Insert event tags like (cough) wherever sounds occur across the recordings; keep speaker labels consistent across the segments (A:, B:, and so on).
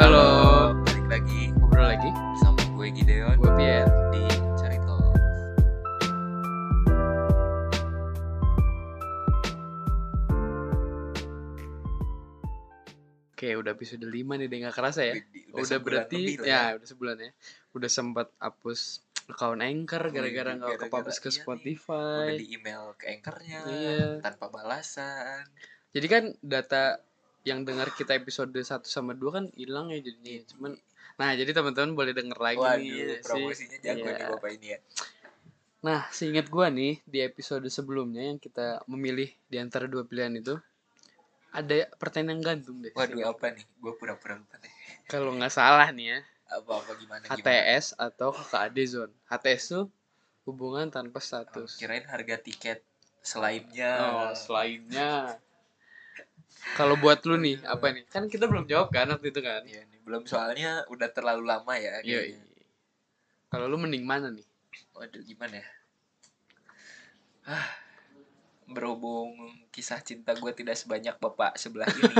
A: Halo.
B: balik lagi
A: Ngobrol lagi
B: bersama gue Gideon
A: Gue Pierre
B: di Cerita.
A: Oke udah episode 5 nih deh gak kerasa ya Udah,
B: sebulan
A: berarti
B: lebih lah
A: ya, udah sebulan ya Udah sempat hapus account Anchor
B: Oh,
A: Gara-gara
B: iya,
A: gak ke
B: gara-gara
A: publish ke
B: iya nih.
A: Spotify
B: udah di email ke anchornya
A: Iya.
B: tanpa balasan
A: Jadi kan data yang dengar kita episode 1 sama 2 kan hilang ya jadinya Cuman Nah jadi teman-teman boleh denger lagi nih
B: Iya. waduh
A: ya sih.
B: promosinya jago
A: Iya.
B: nih bapak ini ya
A: Nah, seingat gua nih di episode sebelumnya yang kita memilih di antara dua pilihan itu ada pertanyaan gantung deh.
B: waduh
A: seingat-
B: apa nih gue pura-pura lupa deh
A: Kalau nggak salah nih ya,
B: apa apa gimana gimana
A: HTS atau KKAD zone. HTS tuh hubungan tanpa
B: Oh,
A: status.
B: kirain harga tiket selainnya
A: Oh, selainnya. Kalau buat lu nih, apa nih? Kan kita belum jawab kan waktu itu kan?
B: Iya nih, belum soalnya udah terlalu lama ya
A: Yoi.
B: kayaknya.
A: Kalau lu mending mana nih?
B: Waduh gimana ya? Ah, berhubung kisah cinta gue tidak sebanyak bapak sebelah
A: (laughs)
B: ini,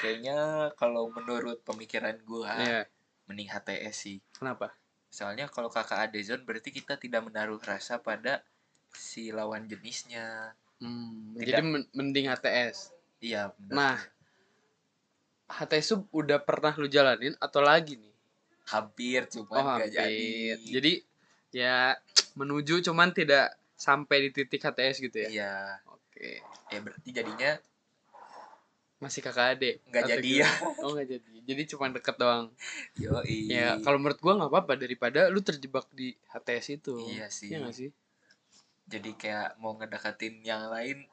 B: kayaknya kalau menurut pemikiran gue
A: Iya,
B: mending HTS sih.
A: kenapa?
B: Soalnya kalau kakak adezon berarti kita tidak menaruh rasa pada si lawan jenisnya.
A: Hmm,
B: Tidak.
A: jadi men- mending HTS.
B: Iya. benar.
A: Nah, HTS tuh udah pernah lu jalanin atau lagi nih?
B: hampir cuman
A: Oh,
B: nggak
A: hampir.
B: jadi.
A: Jadi ya menuju cuman tidak sampai di titik HTS gitu ya.
B: Iya.
A: Oke.
B: Ya berarti jadinya
A: Masih kakak adik.
B: nggak
A: atau
B: jadi
A: gimana?
B: ya. (laughs)
A: Oh, nggak jadi. Jadi cuman deket doang.
B: Yoi.
A: Ya, kalau menurut gua nggak apa-apa daripada lu terjebak di HTS itu.
B: Iya sih.
A: Iya nggak sih?
B: jadi kayak mau ngedekatin yang lain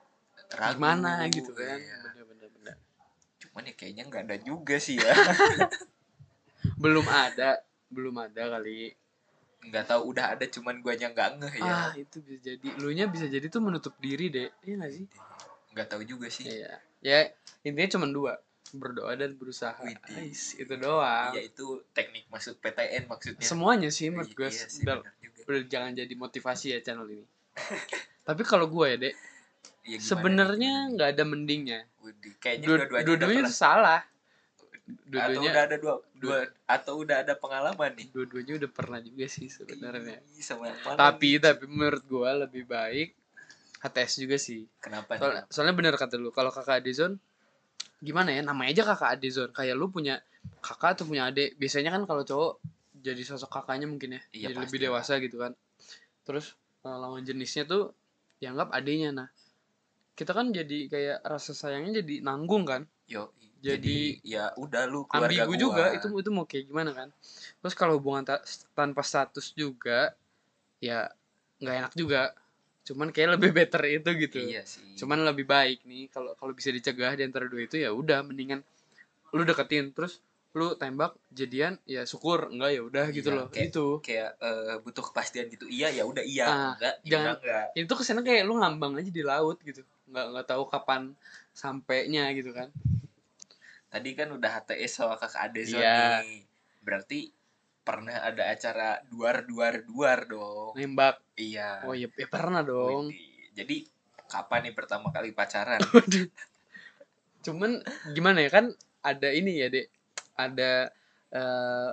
B: ragu
A: Gimana gitu kan?
B: iya.
A: Bener-bener. bener.
B: cuman ya kayaknya nggak ada juga sih ya
A: (laughs) Belum ada, belum ada kali.
B: nggak tahu udah ada cuman guanya nggak ngeh ya
A: Ah, itu bisa jadi. Lu nya bisa jadi tuh menutup diri deh. Iya nggak sih?
B: nggak tahu juga sih
A: Iya. Ya, intinya cuman dua. Berdoa dan berusaha.
B: Widih.
A: Ais, itu doang.
B: Iya itu teknik masuk PTN maksudnya
A: Semuanya sih menurut gue.
B: iya sih
A: udah,
B: benar juga
A: udah jangan jadi motivasi ya channel
B: (laughs)
A: ini. Tapi kalau gue ya, Dek,
B: Iya, gimana nih,
A: sebenarnya
B: gimana
A: nggak ada mendingnya.
B: nih? Widih, kayaknya
A: Du-
B: dua-duanya udah
A: Dua-duanya
B: pernah-
A: tuh salah.
B: atau udah
A: Dua-duanya
B: ada dua, dua atau udah Iya. ada pengalaman nih
A: dua-duanya udah pernah juga sih sebenarnya.
B: Ih, sama yang mana nih?
A: Tapi tapi menurut gue lebih baik HTS juga sih.
B: kenapa nih?
A: Soalnya, soalnya bener kata lu, kalau kakak Adizon gimana ya namanya aja kakak Adizon kayak lu punya kakak atau punya adik biasanya kan kalau cowok jadi sosok kakaknya mungkin ya
B: Iya,
A: jadi
B: pasti.
A: lebih dewasa gitu kan terus eh, lawan jenisnya tuh dianggap adiknya nah kita kan jadi kayak rasa sayangnya jadi nanggung kan
B: Yo,
A: Jadi-
B: ya udah lu keluarga
A: ambigu
B: gua.
A: juga itu itu mau kayak gimana kan terus kalau hubungan ta- tanpa status juga ya nggak enak juga cuman kayak lebih better itu gitu
B: iya sih
A: cuman lebih baik nih kalau kalau bisa dicegah di antara dua itu ya udah mendingan lu deketin terus lu tembak jadian ya syukur enggak ya udah gitu
B: Iya,
A: loh
B: kayak-
A: gitu
B: kayak eh, butuh kepastian gitu iya ya udah iya
A: Ah,
B: enggak ya
A: jangan-
B: udah enggak
A: itu kesana kayak lu ngambang aja di laut gitu nggak nggak tahu kapan sampainya gitu kan
B: tadi kan udah HTS sama kakak Adezon
A: Iya.
B: nih berarti pernah ada acara duar duar duar dong
A: nembak
B: iya
A: oh iya ya pernah dong
B: Widih. jadi kapan nih pertama kali pacaran
A: cuman gimana ya kan ada ini ya dek ada eh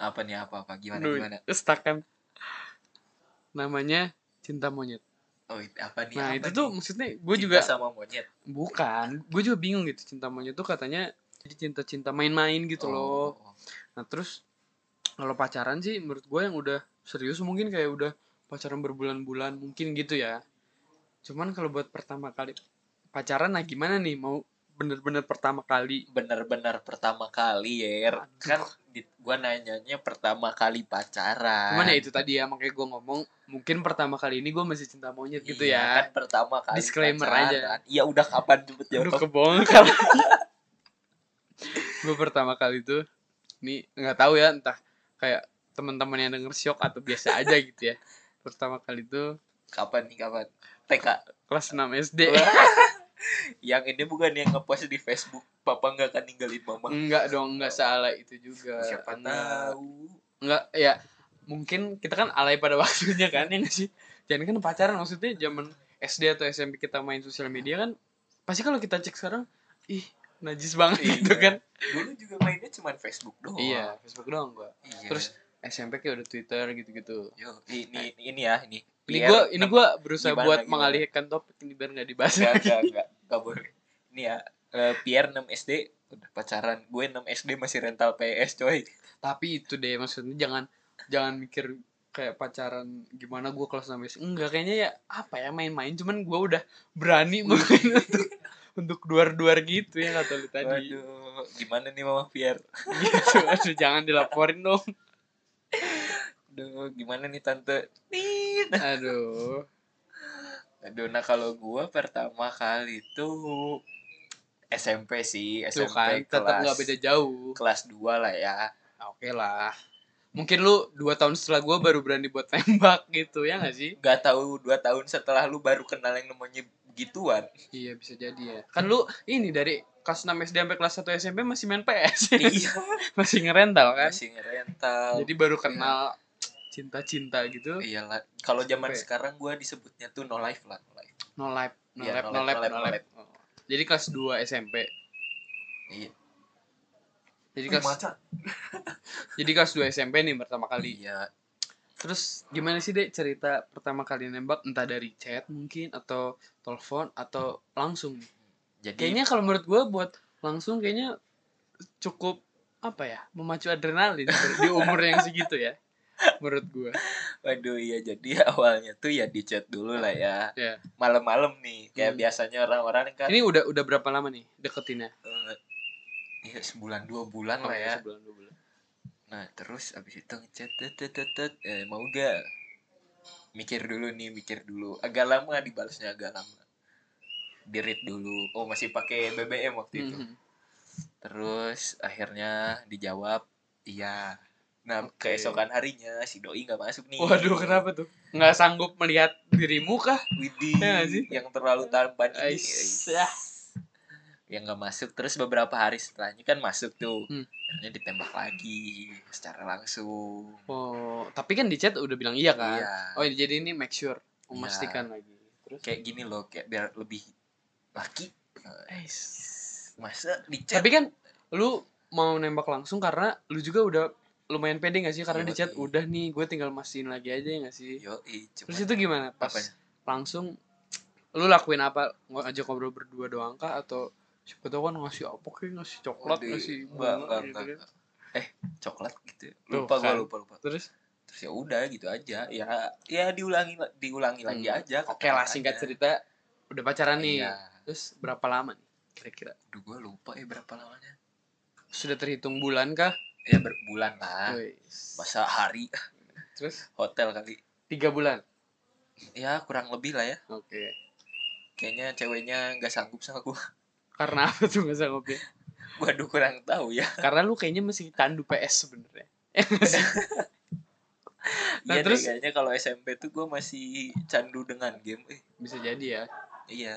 B: apa nih apa apa gimana
A: aduh,
B: gimana
A: stuck kan namanya cinta monyet
B: oh it- apa nih
A: nah
B: apa
A: itu
B: nih?
A: tuh maksudnya gue
B: Cinta
A: juga
B: sama monyet
A: Bukan, gue juga bingung gitu cinta monyet tuh katanya jadi cinta-cinta main-main gitu loh.
B: Oh, oh, oh.
A: Nah terus kalau pacaran sih menurut gue yang udah serius mungkin kayak udah pacaran berbulan-bulan mungkin gitu ya. Cuman kalau buat pertama kali pacaran nah gimana nih mau bener-bener pertama kali
B: benar-benar pertama kali ya
A: Aduh.
B: kan di- gua nanyanya pertama kali pacaran
A: Cuman ya itu tadi ya makanya gue ngomong mungkin pertama kali ini gue masih cinta monyet gitu
B: Iya,
A: ya.
B: kan pertama kali
A: Disclaimer
B: pacaran. iya udah kapan cepet ya
A: Aduh kebongkar. (laughs) gue pertama kali tuh nih nggak tahu ya entah kayak teman-teman yang denger syok atau biasa aja gitu ya. Pertama kali tuh
B: kapan nih kapan
A: (laughs)
B: TK
A: kelas 6 SD.
B: yang ini bukan yang ngepost di Facebook papa nggak akan ninggalin mama
A: Enggak dong, enggak salah itu juga.
B: siapa
A: Enggak.
B: tahu
A: Enggak, ya mungkin kita kan alay pada (laughs) waktunya kan ya nggak sih. Jangan kan pacaran maksudnya zaman SD atau SMP kita main sosial media kan pasti kalau kita cek sekarang ih najis banget
B: Iya.
A: gitu kan
B: Dulu juga mainnya cuman Facebook doang.
A: iya Facebook doang gua
B: Iya.
A: Terus SMP kayak udah Twitter gitu-gitu
B: Yo, ini ini ya ini.
A: ini
B: Biar
A: gua ini gua berusaha
B: gimana,
A: buat
B: gimana?
A: mengalihkan topik ini biar nggak dibahas
B: enggak
A: lagi.
B: enggak enggak enggak boleh ini ya eh, Pierre 6 SD udah pacaran gue 6 SD masih rental PS coy
A: tapi itu deh maksudnya jangan jangan mikir kayak pacaran gimana gua kelas 6 SD. enggak kayaknya ya apa ya main-main cuman gua udah berani (laughs) mungkin untuk untuk duar-duar gitu ya kata lu tadi
B: Waduh, gimana nih mama Pierre
A: (laughs) gitu aduh jangan dilaporin dong
B: Aduh, gimana nih tante Nih.
A: aduh
B: Aduh, nah kalau gue pertama kali tuh SMP sih
A: tuh kan
B: SMP
A: tetap
B: kelas
A: nggak beda jauh
B: kelas 2 lah ya
A: Nah, oke lah mungkin lu dua tahun setelah gua baru berani buat (laughs) tembak gitu ya nggak sih
B: nggak tahu dua tahun setelah lu baru kenal yang namanya
A: (laughs)
B: gituan
A: iya bisa jadi ya kan lu ini dari kelas 6 SD sampai kelas 1 SMP masih main PS
B: iya
A: (laughs) masih ngerental kan
B: masih ngerental
A: jadi baru kenal cinta-cinta gitu
B: iya lah kalau zaman
A: SMP.
B: sekarang gue disebutnya tuh no life lah no life
A: no life no
B: Iya,
A: life
B: no
A: no
B: life,
A: life no
B: no life, no
A: life Oh. jadi kelas 2 SMP
B: Iya.
A: jadi kelas jadi kelas 2 SMP nih pertama kali
B: Iya.
A: terus gimana sih dek cerita pertama kali nembak entah dari chat mungkin atau telepon atau langsung
B: Jadi
A: kayaknya kalau menurut gua buat langsung kayaknya cukup apa ya memacu adrenalin di umur yang segitu ya menurut gua
B: waduh iya jadi (laughs) awalnya tuh ya di chat dulu lah ya.
A: Iya.
B: Malam-malam nih kayak
A: Hmm.
B: biasanya orang-orang kan
A: ini udah udah berapa lama nih deketinnya
B: eh, Iya sebulan dua bulan lah
A: Oke,
B: ya.
A: sebulan dua bulan
B: Nah terus abis itu ngechat tet tet tet, tet, eh, mau gak? Mikir dulu nih mikir dulu. Agak lama dibalasnya agak lama. Di read dulu. Oh masih pakai BBM waktu itu.
A: Mhm.
B: Terus akhirnya dijawab iya. Nah,
A: Oke.
B: keesokan harinya si doi nggak masuk nih.
A: Waduh, kenapa tuh? Nggak sanggup melihat dirimu kah?
B: Widih,
A: Ya nggak sih?
B: yang terlalu tampan ini.
A: Ais.
B: Ais. Yang nggak masuk terus beberapa hari setelahnya kan masuk tuh.
A: Hmm.
B: Akhirnya ditembak lagi secara langsung.
A: Oh, tapi kan di chat udah bilang iya kan?
B: Iya.
A: Oh, jadi ini make sure
B: Iya.
A: memastikan lagi. Terus
B: Kayak gini loh, kayak biar lebih laki.
A: Ais.
B: Masa di chat
A: Tapi kan lu mau nembak langsung karena lu juga udah lumayan pede gak sih karena di chat
B: Yoi.
A: udah nih gue tinggal mastiin lagi aja ya gak sih
B: yo
A: terus itu gimana pas
B: Apanya?
A: langsung lu lakuin apa ngajak ngobrol berdua doang kah atau siapa tau kan ngasih apa kayak ngasih coklat ngasih
B: iya.
A: bunga gitu kan
B: Eh, coklat gitu.
A: Tuh,
B: Lupa gua
A: kan.
B: lupa lupa.
A: terus
B: terus ya udah gitu aja ya ya diulangi diulangi lagi
A: Hmm.
B: aja
A: oke lah singkat cerita udah pacaran nih
B: iya
A: terus berapa lama nih kira-kira
B: Aduh, gua lupa ya berapa lamanya
A: sudah terhitung bulan kah
B: ya berbulan lah
A: Wes.
B: masa hari
A: Terus
B: hotel kali
A: tiga bulan.
B: ya kurang lebih lah ya
A: Oke.
B: kayaknya ceweknya nggak sanggup sama gua (laughs)
A: Karena apa tuh nggak sanggup ya?
B: waduh kurang tahu ya
A: Karena lu kayaknya masih tandu PS sebenarnya. Eh, masih. Nah,
B: iya deh,
A: terus-
B: kayaknya kalau SMP tuh gua masih candu dengan game eh,
A: Bisa jadi ya.
B: iya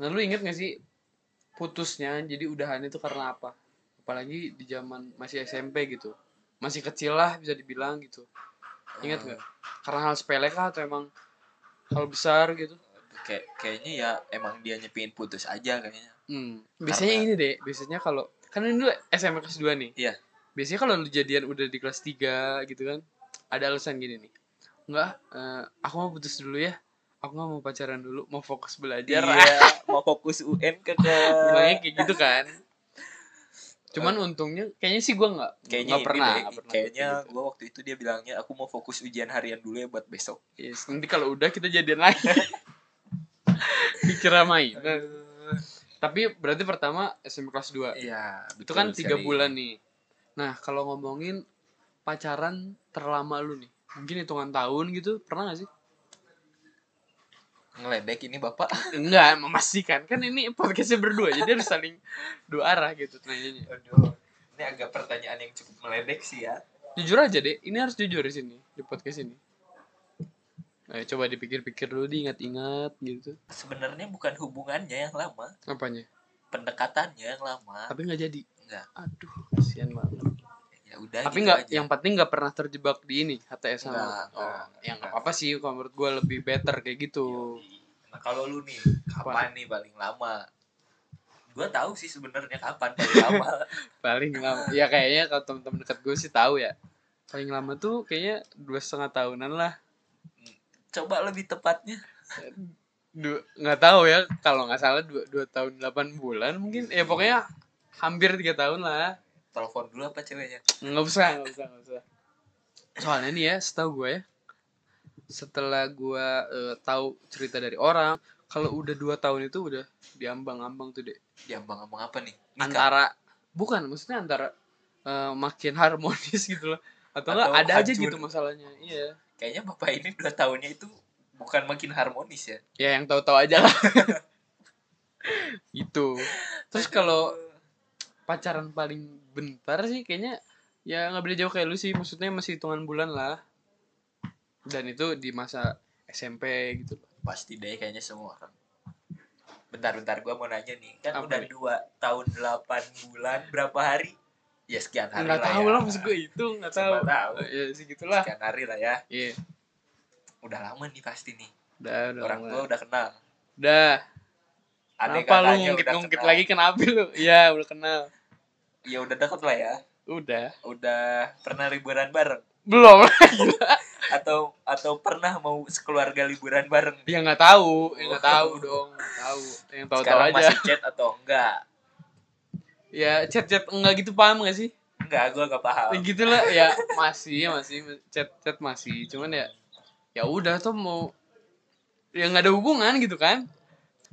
A: Nah lu inget gak sih putusnya jadi udahannya itu karena apa? Apalagi di zaman masih SMP gitu. Masih kecil lah bisa dibilang gitu. Ingat
B: Eh,
A: nggak? Karena hal sepele kah atau emang hal besar gitu?
B: kayak kayaknya ya emang dia nyepin putus aja kayaknya
A: Hmm. Biasanya
B: Karena-
A: ini deh, biasanya kalau kan ini lu SMA kelas 2 nih.
B: Iya.
A: Biasanya kalau lu jadian udah di kelas 3 gitu kan, ada alasan gini nih. Enggak, eh, aku mau putus dulu ya. Aku nggak mau pacaran dulu, mau fokus
B: dia
A: belajar.
B: mau fokus UN ke
A: Bilangnya kayak gitu kan. Cuman untungnya kayaknya sih gua nggak
B: Eh. kayaknya
A: nggak
B: ini
A: pernah,
B: deh,
A: nggak pernah
B: kayaknya
A: kayak gitu.
B: gua waktu itu dia bilangnya aku mau fokus ujian harian dulu ya buat besok
A: Yes, nanti kalau udah kita jadian lagi.
B: (laughs)
A: Dikira mainan. Tapi berarti pertama SMA kelas 2.
B: iya
A: itu kan tiga bulan nih nah kalau ngomongin pacaran terlama lu nih mungkin hitungan tahun gitu pernah gak sih
B: ngeledek ini bapak
A: enggak memastikan kan ini podcastnya berdua jadi harus saling dua arah gitu nanyanya
B: aduh ini agak pertanyaan yang cukup meledek sih ya
A: jujur aja deh ini harus jujur di sini di podcast ini Ayo coba dipikir-pikir dulu diingat-ingat gitu
B: sebenarnya bukan hubungannya yang lama
A: apanya
B: pendekatannya yang lama
A: tapi nggak jadi
B: enggak
A: aduh kasihan banget
B: ya udah
A: tapi
B: gitu
A: nggak
B: aja.
A: yang penting nggak pernah terjebak di ini HTS sama
B: Nggak,
A: oh
B: nggak,
A: yang
B: nggak.
A: apa sih kalau menurut gue lebih better kayak gitu
B: Yoi. nah kalau lu nih kapan nih paling lama Gua tahu sih sebenarnya kapan paling
A: (laughs)
B: lama.
A: paling lama ya kayaknya kalau temen-temen deket gue sih tahu ya paling lama tuh kayaknya dua setengah tahunan lah
B: Coba lebih tepatnya.
A: Dua- nggak tahu ya kalau nggak salah dua, dua tahun delapan bulan mungkin ya pokoknya hampir tiga tahun lah
B: Telepon dulu apa ceweknya?
A: nggak usah nggak usah nggak usah soalnya nih ya setahu gue ya setelah gue eh, tahu cerita dari orang kalau udah dua tahun itu udah diambang-ambang tuh deh
B: Diambang-ambang apa nih? Nikah?
A: antara bukan maksudnya antara eh, makin harmonis (laughs) gitu loh atau enggak
B: Atau
A: ada aja
B: hancur.
A: gitu masalahnya iya
B: Kayaknya bapak ini dua tahunnya itu bukan makin harmonis ya.
A: ya yang tahu-tahu aja lah gitu terus
B: Aduh.
A: kalau
B: Eh,
A: pacaran paling bentar sih kayaknya ya nggak beda jauh kayak lu sih maksudnya masih hitungan bulan lah dan itu di masa SMP gitu
B: pasti deh kayaknya semua orang. Bentar-bentar gua mau nanya nih. Kan
A: Apa
B: udah
A: nih?
B: dua tahun delapan bulan berapa hari? Ya sekian hari
A: nggak
B: lah
A: tahu
B: ya.
A: lah maksud gue itu nggak tahu
B: Nggak tahu.
A: ya segitulah
B: Sekian hari lah ya.
A: iya
B: Udah lama nih pasti nih.
A: udah udah
B: orang
A: lama.
B: tua udah kenal.
A: udah
B: Adek
A: kenapa lu
B: kakaknya udah
A: ngungkit-ngungkit
B: kenal.
A: lagi kenapa lu iya udah kenal
B: Ya udah deket lah ya.
A: udah
B: Udah pernah liburan bareng
A: belum (laughs)
B: atau atau pernah mau sekeluarga liburan bareng.
A: ya nggak tahu ya nggak
B: Oh.
A: tahu dong nggak tahu yang tahu-tahu
B: Sekarang
A: aja
B: masih chat atau enggak?
A: ya chat chat enggak gitu paham gak sih
B: Enggak, gua gak paham.
A: Ya gitu lah ya masih masih chat chat masih cuman ya ya udah tuh mau ya nggak ada hubungan gitu kan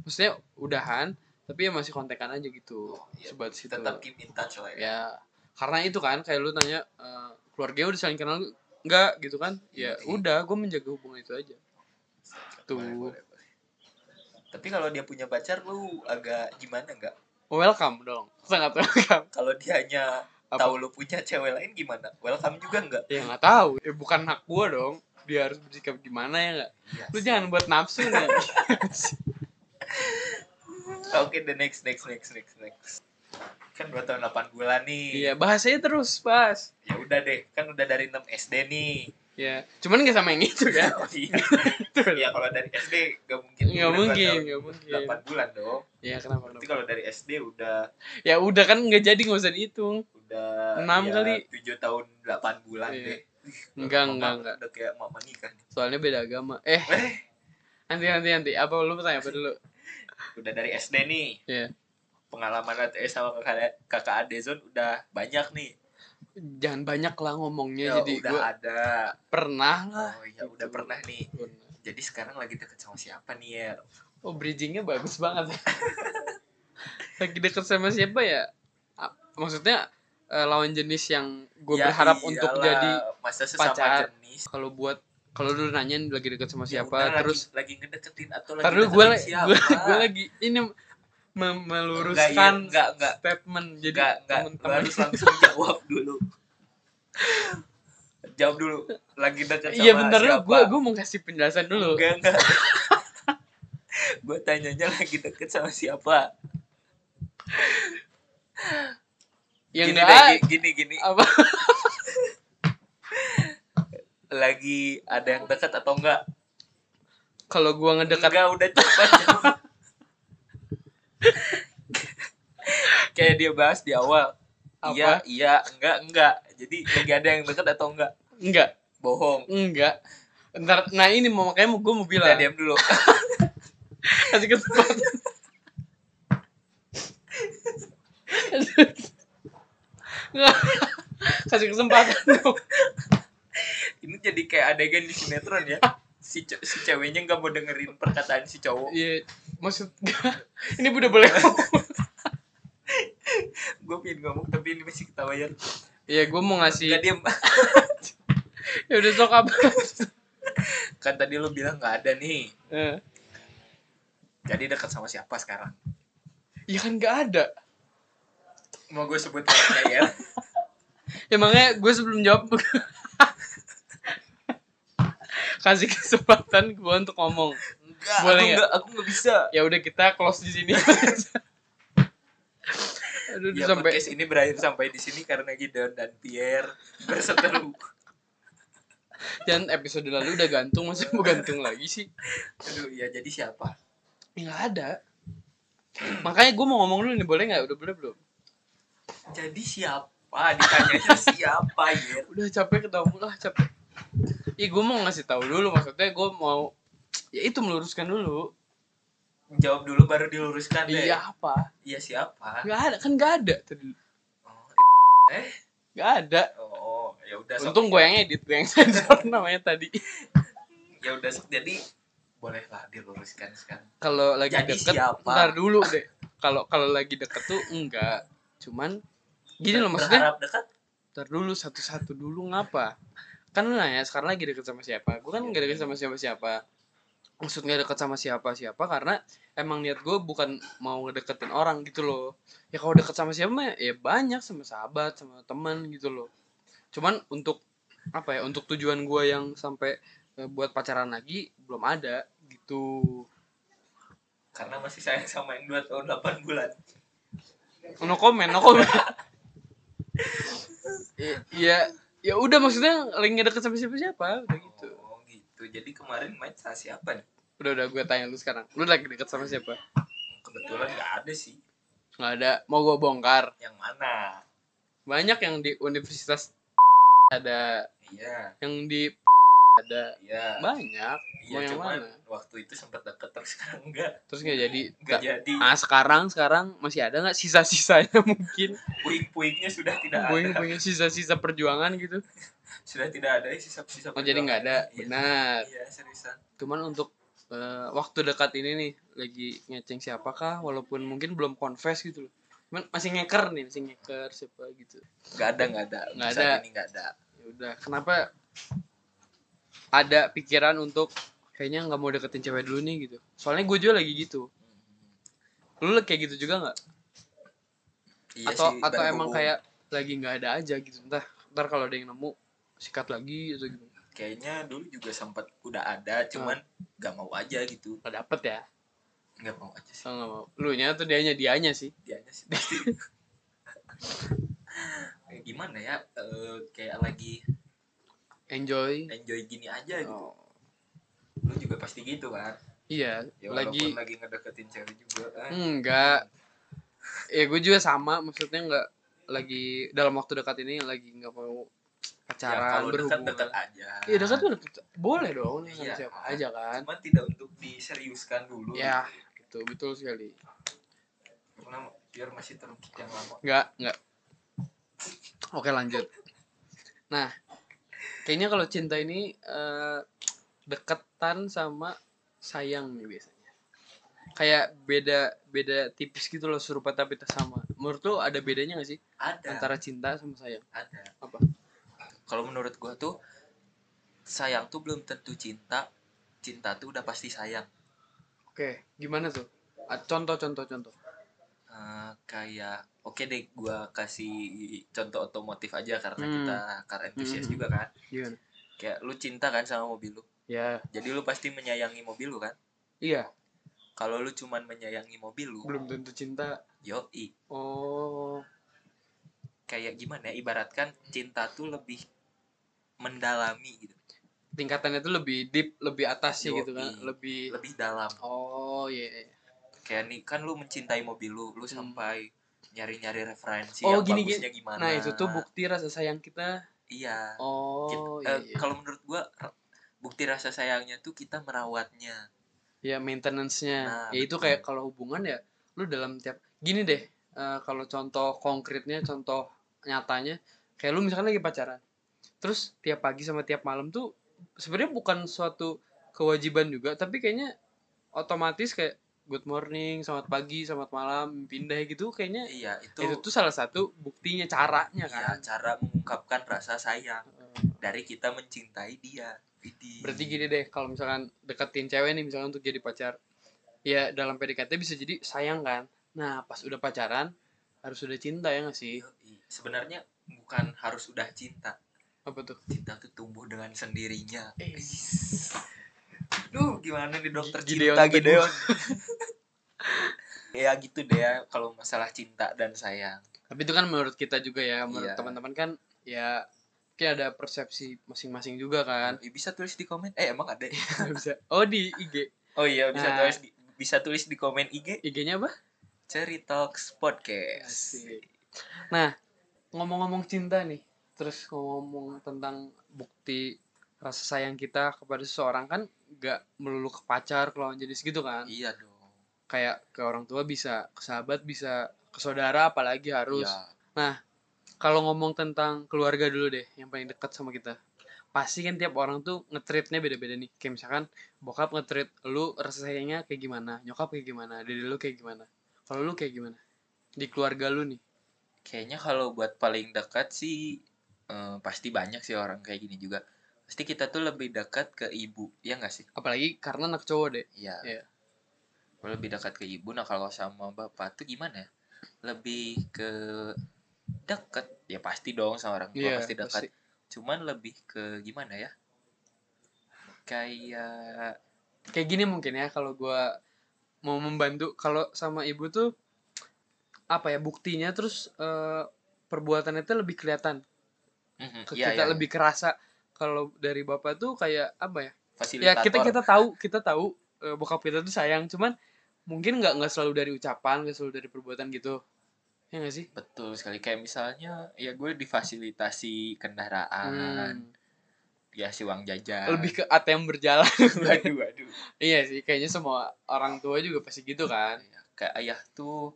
A: maksudnya udahan tapi ya masih kontekan aja gitu
B: Ya,
A: sebatas itu
B: tetap keep in touch lah ya.
A: ya karena itu kan kayak lu tanya eh, keluarganya udah saling kenal nggak gitu kan ya
B: Iya.
A: udah gue menjaga hubungan itu aja tuh
B: Boleh, boleh, boleh. Tapi kalau dia punya pacar lu agak gimana enggak?
A: welcome dong sangat welcome
B: Kalau dia hanya
A: Apa?
B: tahu lu punya cewek lain gimana? Welcome juga enggak?
A: ya nggak tahu ya bukan hak gue dong dia harus bersikap gimana ya nggak
B: Iya.
A: lu jangan buat nafsu nih
B: (laughs) Oke, the next next next next next. Kan 2 tahun 8 bulan nih.
A: iya bahasanya terus pas
B: Ya udah deh, kan udah dari 6 SD nih.
A: ya cuman nggak sama yang itu ya
B: Oh, (laughs) iya. ya kalau dari SD nggak mungkin
A: Gitu kan? nggak
B: udah
A: mungkin
B: dua
A: nggak
B: tahun,
A: mungkin
B: delapan bulan dong
A: ya kenapa
B: berarti
A: kenapa?
B: kalau dari SD udah
A: ya udah kan nggak jadi nggak usah dihitung
B: udah ya
A: Enam kali.
B: tujuh tahun delapan bulan
A: Iya.
B: deh
A: enggak
B: Mama
A: enggak enggak
B: udah kayak mama nikah nih
A: soalnya beda agama eh
B: eh
A: nanti nanti nanti apa lu tanya apa dulu
B: udah dari SD nih
A: Iya.
B: pengalaman ATS sama kakak kakak Adezon udah banyak nih
A: jangan banyak lah ngomongnya
B: Ya,
A: Iya, jadi
B: udah
A: gue
B: ada
A: pernah lah
B: oh iya udah
A: gitu.
B: pernah nih jadi sekarang lagi deket sama siapa nih ya
A: oh bridgingnya bagus
B: (laughs)
A: banget lagi deket sama siapa ya A- maksudnya eh, lawan jenis yang gue
B: Ya
A: berharap untuk
B: iyalah,
A: jadi
B: masa sesama
A: pacar.
B: jenis
A: kalau buat kalau lu nanya lagi deket sama
B: Ya
A: siapa
B: udah, lagi-
A: terus
B: lagi, ngedeketin atau lagi
A: Taruh gue
B: deketin siapa
A: gue gue lagi ini me- meluruskan
B: enggak, enggak.
A: statement jadi
B: Enggak, enggak, lu
A: temen-temen (laughs)
B: harus langsung jawab dulu. jawab dulu. Lagi deket sama
A: iya bentar lu
B: siapa?
A: gue gue mau kasih penjelasan dulu
B: Enggak, enggak. gue tanyanya lagi deket sama siapa?
A: yang
B: gini,
A: enggak
B: deh, gi- gini, gini.
A: apa
B: Lagi ada yang deket atau enggak?
A: kalau gue ngedekat
B: Enggak, udah cepet. jawab. Kayak dia bahas di awal.
A: Apa?
B: Iya, iya, enggak, enggak. Jadi lagi ada yang deket atau enggak?
A: enggak
B: Bohong.
A: enggak ntar nah ini mau makanya gue mau
B: Udah
A: bilang
B: diam dulu.
A: kasih kesempatan (laughs) Nggak. kasih kesempatan dong.
B: ini jadi kayak adegan di sinetron ya si, ce- si ceweknya nggak mau dengerin perkataan si cowok
A: iya maksud ini udah boleh ngomong.
B: gue pengen ngomong tapi ini masih ketawa ya Kan
A: iya gue mau
B: nggak
A: ngasih
B: diem
A: ya udah sok apa
B: kan tadi lo bilang nggak ada nih
A: Eh,
B: jadi dekat sama siapa sekarang
A: ya kan nggak ada
B: mau gue sebut namanya ya
A: Ya makanya gue sebelum jawab (laughs) kasih kesempatan gue untuk ngomong.
B: enggak
A: Boleh
B: aku
A: nggak?
B: nggak aku nggak bisa
A: Ya udah kita close di sini. Aduh,
B: ya,
A: sampai
B: podcast ini berakhir sampai di sini karena Gideon dan Pierre berseteru
A: dan episode lalu udah
B: iya,
A: gantung, masa mau gantung lagi sih?
B: aduh ya jadi siapa
A: Enggak ada. Makanya gue mau ngomong dulu nih, boleh nggak? Udah boleh belum?
B: Jadi siapa? Ditanyanya siapa ya?
A: Udah capek ketemu lah, capek. Ih, gue mau ngasih tahu dulu maksudnya gue mau ya itu meluruskan dulu.
B: Jawab dulu baru diluruskan deh.
A: Iya apa?
B: Iya siapa?
A: Gak ada, kan gak ada tadi.
B: Oh, eh.
A: Gak ada.
B: Oh, ya udah. sok.
A: Untung gue yang edit, gue yang sensor (laughs) namanya tadi.
B: ya udah sok. jadi bolehlah diluruskan sekarang.
A: Kalau lagi
B: Jadi
A: deket,
B: siapa?
A: ntar dulu deh. Kalau kalau lagi deket tuh enggak. Cuman gini loh maksudnya.
B: Berharap dekat.
A: Ntar dulu satu-satu dulu ngapa? Kan lu nanya sekarang lagi deket sama siapa? Gue kan
B: Iya.
A: gak deket sama siapa-siapa. Maksud gak deket sama siapa-siapa karena emang niat gue bukan mau ngedeketin orang gitu loh. Ya kalau deket sama siapa mah ya banyak sama sahabat, sama teman gitu loh. Cuman untuk apa ya? Untuk tujuan gue yang sampai eh, buat pacaran lagi belum ada gitu.
B: Karena masih sayang sama yang 2 tahun 8 bulan.
A: Oh, no comment, no comment. (laughs) I- Iya, ya udah maksudnya lagi nggak deket sama siapa siapa udah gitu.
B: Oh, gitu. Jadi kemarin main sama siapa nih?
A: Udah udah gue tanya lu sekarang, lu lagi deket sama siapa?
B: Kebetulan nggak ada sih.
A: Nggak ada, mau gue bongkar.
B: Yang mana?
A: Banyak yang di universitas ada,
B: Iya,
A: yang di ada
B: iya.
A: banyak.
B: Iya,
A: Mau yang
B: cuman
A: mana?
B: waktu itu sempat deket terus sekarang enggak.
A: Terus nggak jadi.
B: Enggak
A: Nggak-
B: jadi.
A: Ah sekarang sekarang masih ada nggak sisa-sisanya (laughs) mungkin?
B: Puing-puingnya sudah tidak
A: Gue
B: ada.
A: punya sisa-sisa perjuangan gitu.
B: Sudah tidak ada sisa-sisa.
A: Oh jadi nggak ada,
B: Iya.
A: benar.
B: Iya, seriusan.
A: cuman untuk eh, waktu dekat ini nih lagi ngeceng siapakah walaupun mungkin belum confess gitu loh cuman masih ngeker nih masih ngeker siapa gitu
B: Enggak ada, enggak ada. Untuk
A: Nggak
B: saat
A: ada.
B: ini enggak ada.
A: ya udah kenapa ada pikiran untuk kayaknya nggak mau deketin cewek dulu nih gitu soalnya gue juga lagi gitu lu kayak gitu juga nggak
B: Iya
A: atau
B: sih,
A: atau
B: berhubung-
A: emang kayak lagi nggak ada aja gitu entah ntar kalau ada yang nemu sikat lagi atau gitu
B: kayaknya dulu juga sempat udah ada cuman nggak mau aja gitu
A: nggak dapet ya
B: nggak mau aja sih
A: so, nggak mau lu nya tuh dianya dianya sih
B: dianya
A: (laughs)
B: sih pasti Kayak gimana ya eh, kayak lagi
A: enjoy
B: enjoy gini aja gitu
A: Oh.
B: lu juga pasti gitu kan
A: iya
B: ya
A: lagi Hmm,
B: walaupun lagi ngedeketin cewek juga kan
A: Enggak. Ya gue juga sama, maksudnya enggak lagi dalam waktu dekat ini lagi nggak mau
B: ya
A: pacaran
B: kalau dekat
A: berhubungan.
B: dekat aja
A: Iya dekat tuh dekat. boleh dong sama
B: Iya.
A: siapa aja kan.
B: cuman tidak untuk diseriuskan dulu
A: Ya itu betul sekali.
B: karena biar masih terungkit yang lama
A: Enggak enggak. Oke lanjut. Nah kayaknya kalau cinta ini eh, deketan sama sayang nih biasanya. Kayak beda beda tipis gitu loh serupa tapi tak sama. Menurut lo ada bedanya gak sih
B: ada
A: antara cinta sama sayang?
B: ada
A: Apa?
B: kalau menurut gua tuh sayang tuh belum tentu cinta cinta tuh udah pasti sayang
A: Oke, gimana tuh? Ah, Contoh, contoh, contoh.
B: Eh, kayak oke deh gua kasih contoh otomotif aja karena
A: Hmm.
B: kita car enthusiast
A: Hmm.
B: juga kan
A: Gimana?
B: kayak lu cinta kan sama mobil lu
A: Ya,
B: jadi lu pasti menyayangi mobil lu kan
A: iya,
B: kalau lu cuman menyayangi mobil lu
A: belum tentu cinta.
B: yoi
A: Oh,
B: kayak gimana ya ibaratkan cinta tuh lebih mendalami gitu
A: tingkatannya tuh lebih deep, lebih atas sih
B: Yoi.
A: gitu kan, lebih.
B: iya. lebih dalam
A: Oh iya. iya.
B: kayak nih kan lu mencintai mobil lu lu
A: Hmm.
B: sampai nyari-nyari referensi
A: Oh,
B: yang
A: gini, gini.
B: bagusnya gimana
A: Nah itu tuh bukti rasa sayang kita.
B: iya
A: Oh
B: Kita-
A: iya.
B: eh,
A: iya.
B: kalau menurut gua ra- bukti rasa sayangnya tuh kita merawatnya
A: Ya maintenance-nya.
B: Nah,
A: ya itu
B: betul.
A: kayak kalau hubungan ya, lu dalam tiap. Gini deh, eh, kalau contoh konkretnya, contoh nyatanya, kayak lu misalkan lagi pacaran, terus tiap pagi sama tiap malam tuh sebenarnya bukan suatu kewajiban juga, tapi kayaknya otomatis kayak good morning, selamat pagi, selamat malam, pindah gitu, kayaknya
B: Iya, itu,
A: itu tuh salah satu buktinya caranya
B: iya,
A: kan.
B: cara mengungkapkan rasa sayang
A: Eh,
B: dari kita mencintai dia. Widih.
A: berarti gini deh kalau misalkan deketin cewek nih misalkan untuk jadi pacar ya dalam PDKT bisa jadi sayang kan nah pas udah pacaran harus udah cinta ya nggak sih
B: Yoi. sebenarnya bukan harus udah cinta.
A: apa tuh
B: Cinta tuh tumbuh dengan sendirinya.
A: Eh.
B: Duh, gimana nih dokter
A: Gi- Gideon
B: cinta
A: Teguh.
B: Gideon. (laughs) ya gitu deh ya kalau masalah cinta dan sayang.
A: tapi itu kan menurut kita juga ya menurut
B: Iya.
A: teman-teman kan ya mungkin ada persepsi masing-masing juga kan (laughs)
B: Yoi, ya bisa tulis di komen. Eh, emang ada.
A: Nggak bisa oh di IG
B: Oh iya, bisa
A: Nah.
B: tulis di bisa tulis di komen IG
A: IG-nya apa
B: Ceritox Podcast.
A: Asik. Nah, ngomong-ngomong cinta nih, terus ngomong tentang bukti rasa sayang kita kepada seseorang kan gak melulu ke pacar kalau jenis gitu kan.
B: Iya dong.
A: Kayak ke orang tua bisa, ke sahabat bisa, ke saudara apalagi harus.
B: Iya.
A: Kalau ngomong tentang keluarga dulu deh, yang paling dekat sama kita. Pasti kan tiap orang tuh ngetreatnya beda-beda nih. Kayak misalkan bokap ngetreat lu rasa sayangnya kayak gimana, nyokap kayak gimana, dede lu kayak gimana. Kalau lu kayak gimana? Di keluarga lu nih.
B: Kayaknya kalau buat paling dekat sih eh, pasti banyak sih orang kayak gini juga. Pasti kita tuh lebih dekat ke ibu, ya nggak sih?
A: Apalagi karena anak cowok deh.
B: Iya.
A: Iya.
B: Kalau lebih dekat ke ibu, nah kalau sama bapak tuh gimana? ya? Lebih ke dekat, ya pasti dong sama orang tua
A: Iya,
B: pasti dekat.
A: pasti.
B: Cuman lebih ke gimana ya? Kayak
A: kayak gini mungkin ya kalau gua mau membantu kalau sama ibu tuh apa ya buktinya terus eh, perbuatannya tuh lebih kelihatan
B: Mhm,
A: ke
B: iya,
A: kita
B: iya,
A: lebih kerasa kalau dari bapak tuh kayak apa ya ya
B: fasilitator.
A: kita kita tahu kita tahu eh, bokap kita tuh sayang cuman mungkin nggak nggak selalu dari ucapan nggak selalu dari perbuatan gitu ya nggak sih
B: Betul sekali kayak misalnya ya gue difasilitasi kendaraan,
A: Hmm.
B: ya si uang jajan. (laughs)
A: lebih ke ATM berjalan (laughs)
B: waduh waduh.
A: iya sih kayaknya semua orang tua juga pasti gitu kan
B: Ya, kayak ayah tuh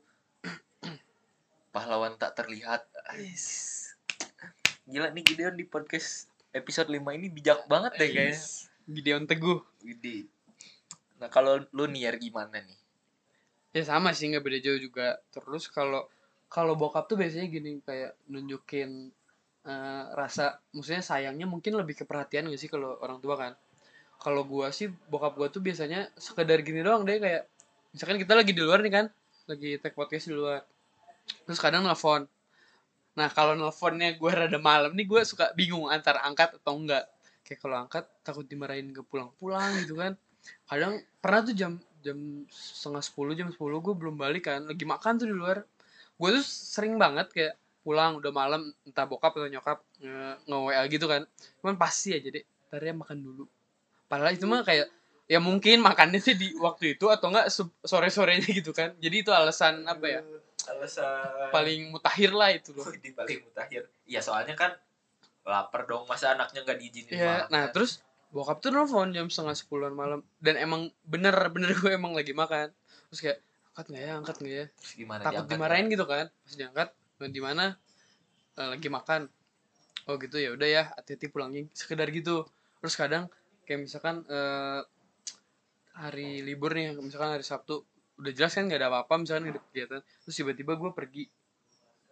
B: pahlawan tak terlihat. Gila nih Gideon di podcast episode 5 ini bijak banget deh kayaknya.
A: Gideon Teguh
B: Widih. Nah, kalau lu niar gimana nih?
A: ya sama sih nggak beda jauh juga terus kalau kalau bokap tuh biasanya gini kayak nunjukin eh, rasa maksudnya sayangnya mungkin lebih ke perhatian gak sih kalau orang tua kan kalau gua sih bokap gua tuh biasanya sekedar gini doang deh kayak misalkan kita lagi di luar nih kan lagi take podcast di luar terus kadang nelfon nah kalau nelfonnya gua rada malam nih gua suka bingung antara angkat atau enggak kayak kalau angkat takut dimarahin ke pulang-pulang gitu kan kadang pernah tuh jam jam setengah sepuluh jam sepuluh gue belum balik kan lagi makan tuh di luar gue tuh sering banget kayak pulang udah malam entah bokap atau nyokap nge WA gitu kan cuman pasti aja deh ntar ya makan dulu padahal itu mah kayak ya mungkin makannya sih di waktu itu atau enggak sore sorenya gitu kan jadi itu alasan apa ya
B: Eh, Alasan
A: paling mutakhir lah itu loh
B: di paling mutakhir. Ya soalnya kan lapar dong masa anaknya nggak diizinin
A: Iya, nah terus bokap tuh nelfon jam setengah sepuluhan malam dan emang bener bener gue emang lagi makan terus kayak angkat nggak ya angkat nggak ya
B: Terus gimana
A: takut
B: diangkat?
A: dimarahin gitu kan pas diangkat "Eh, di mana Eh, lagi makan oh gitu ya udah ya hati-hati pulangnya sekedar gitu terus kadang kayak misalkan eh, hari libur nih misalkan hari Sabtu udah jelas kan nggak ada apa-apa misalkan nggak ada kegiatan terus tiba-tiba gue pergi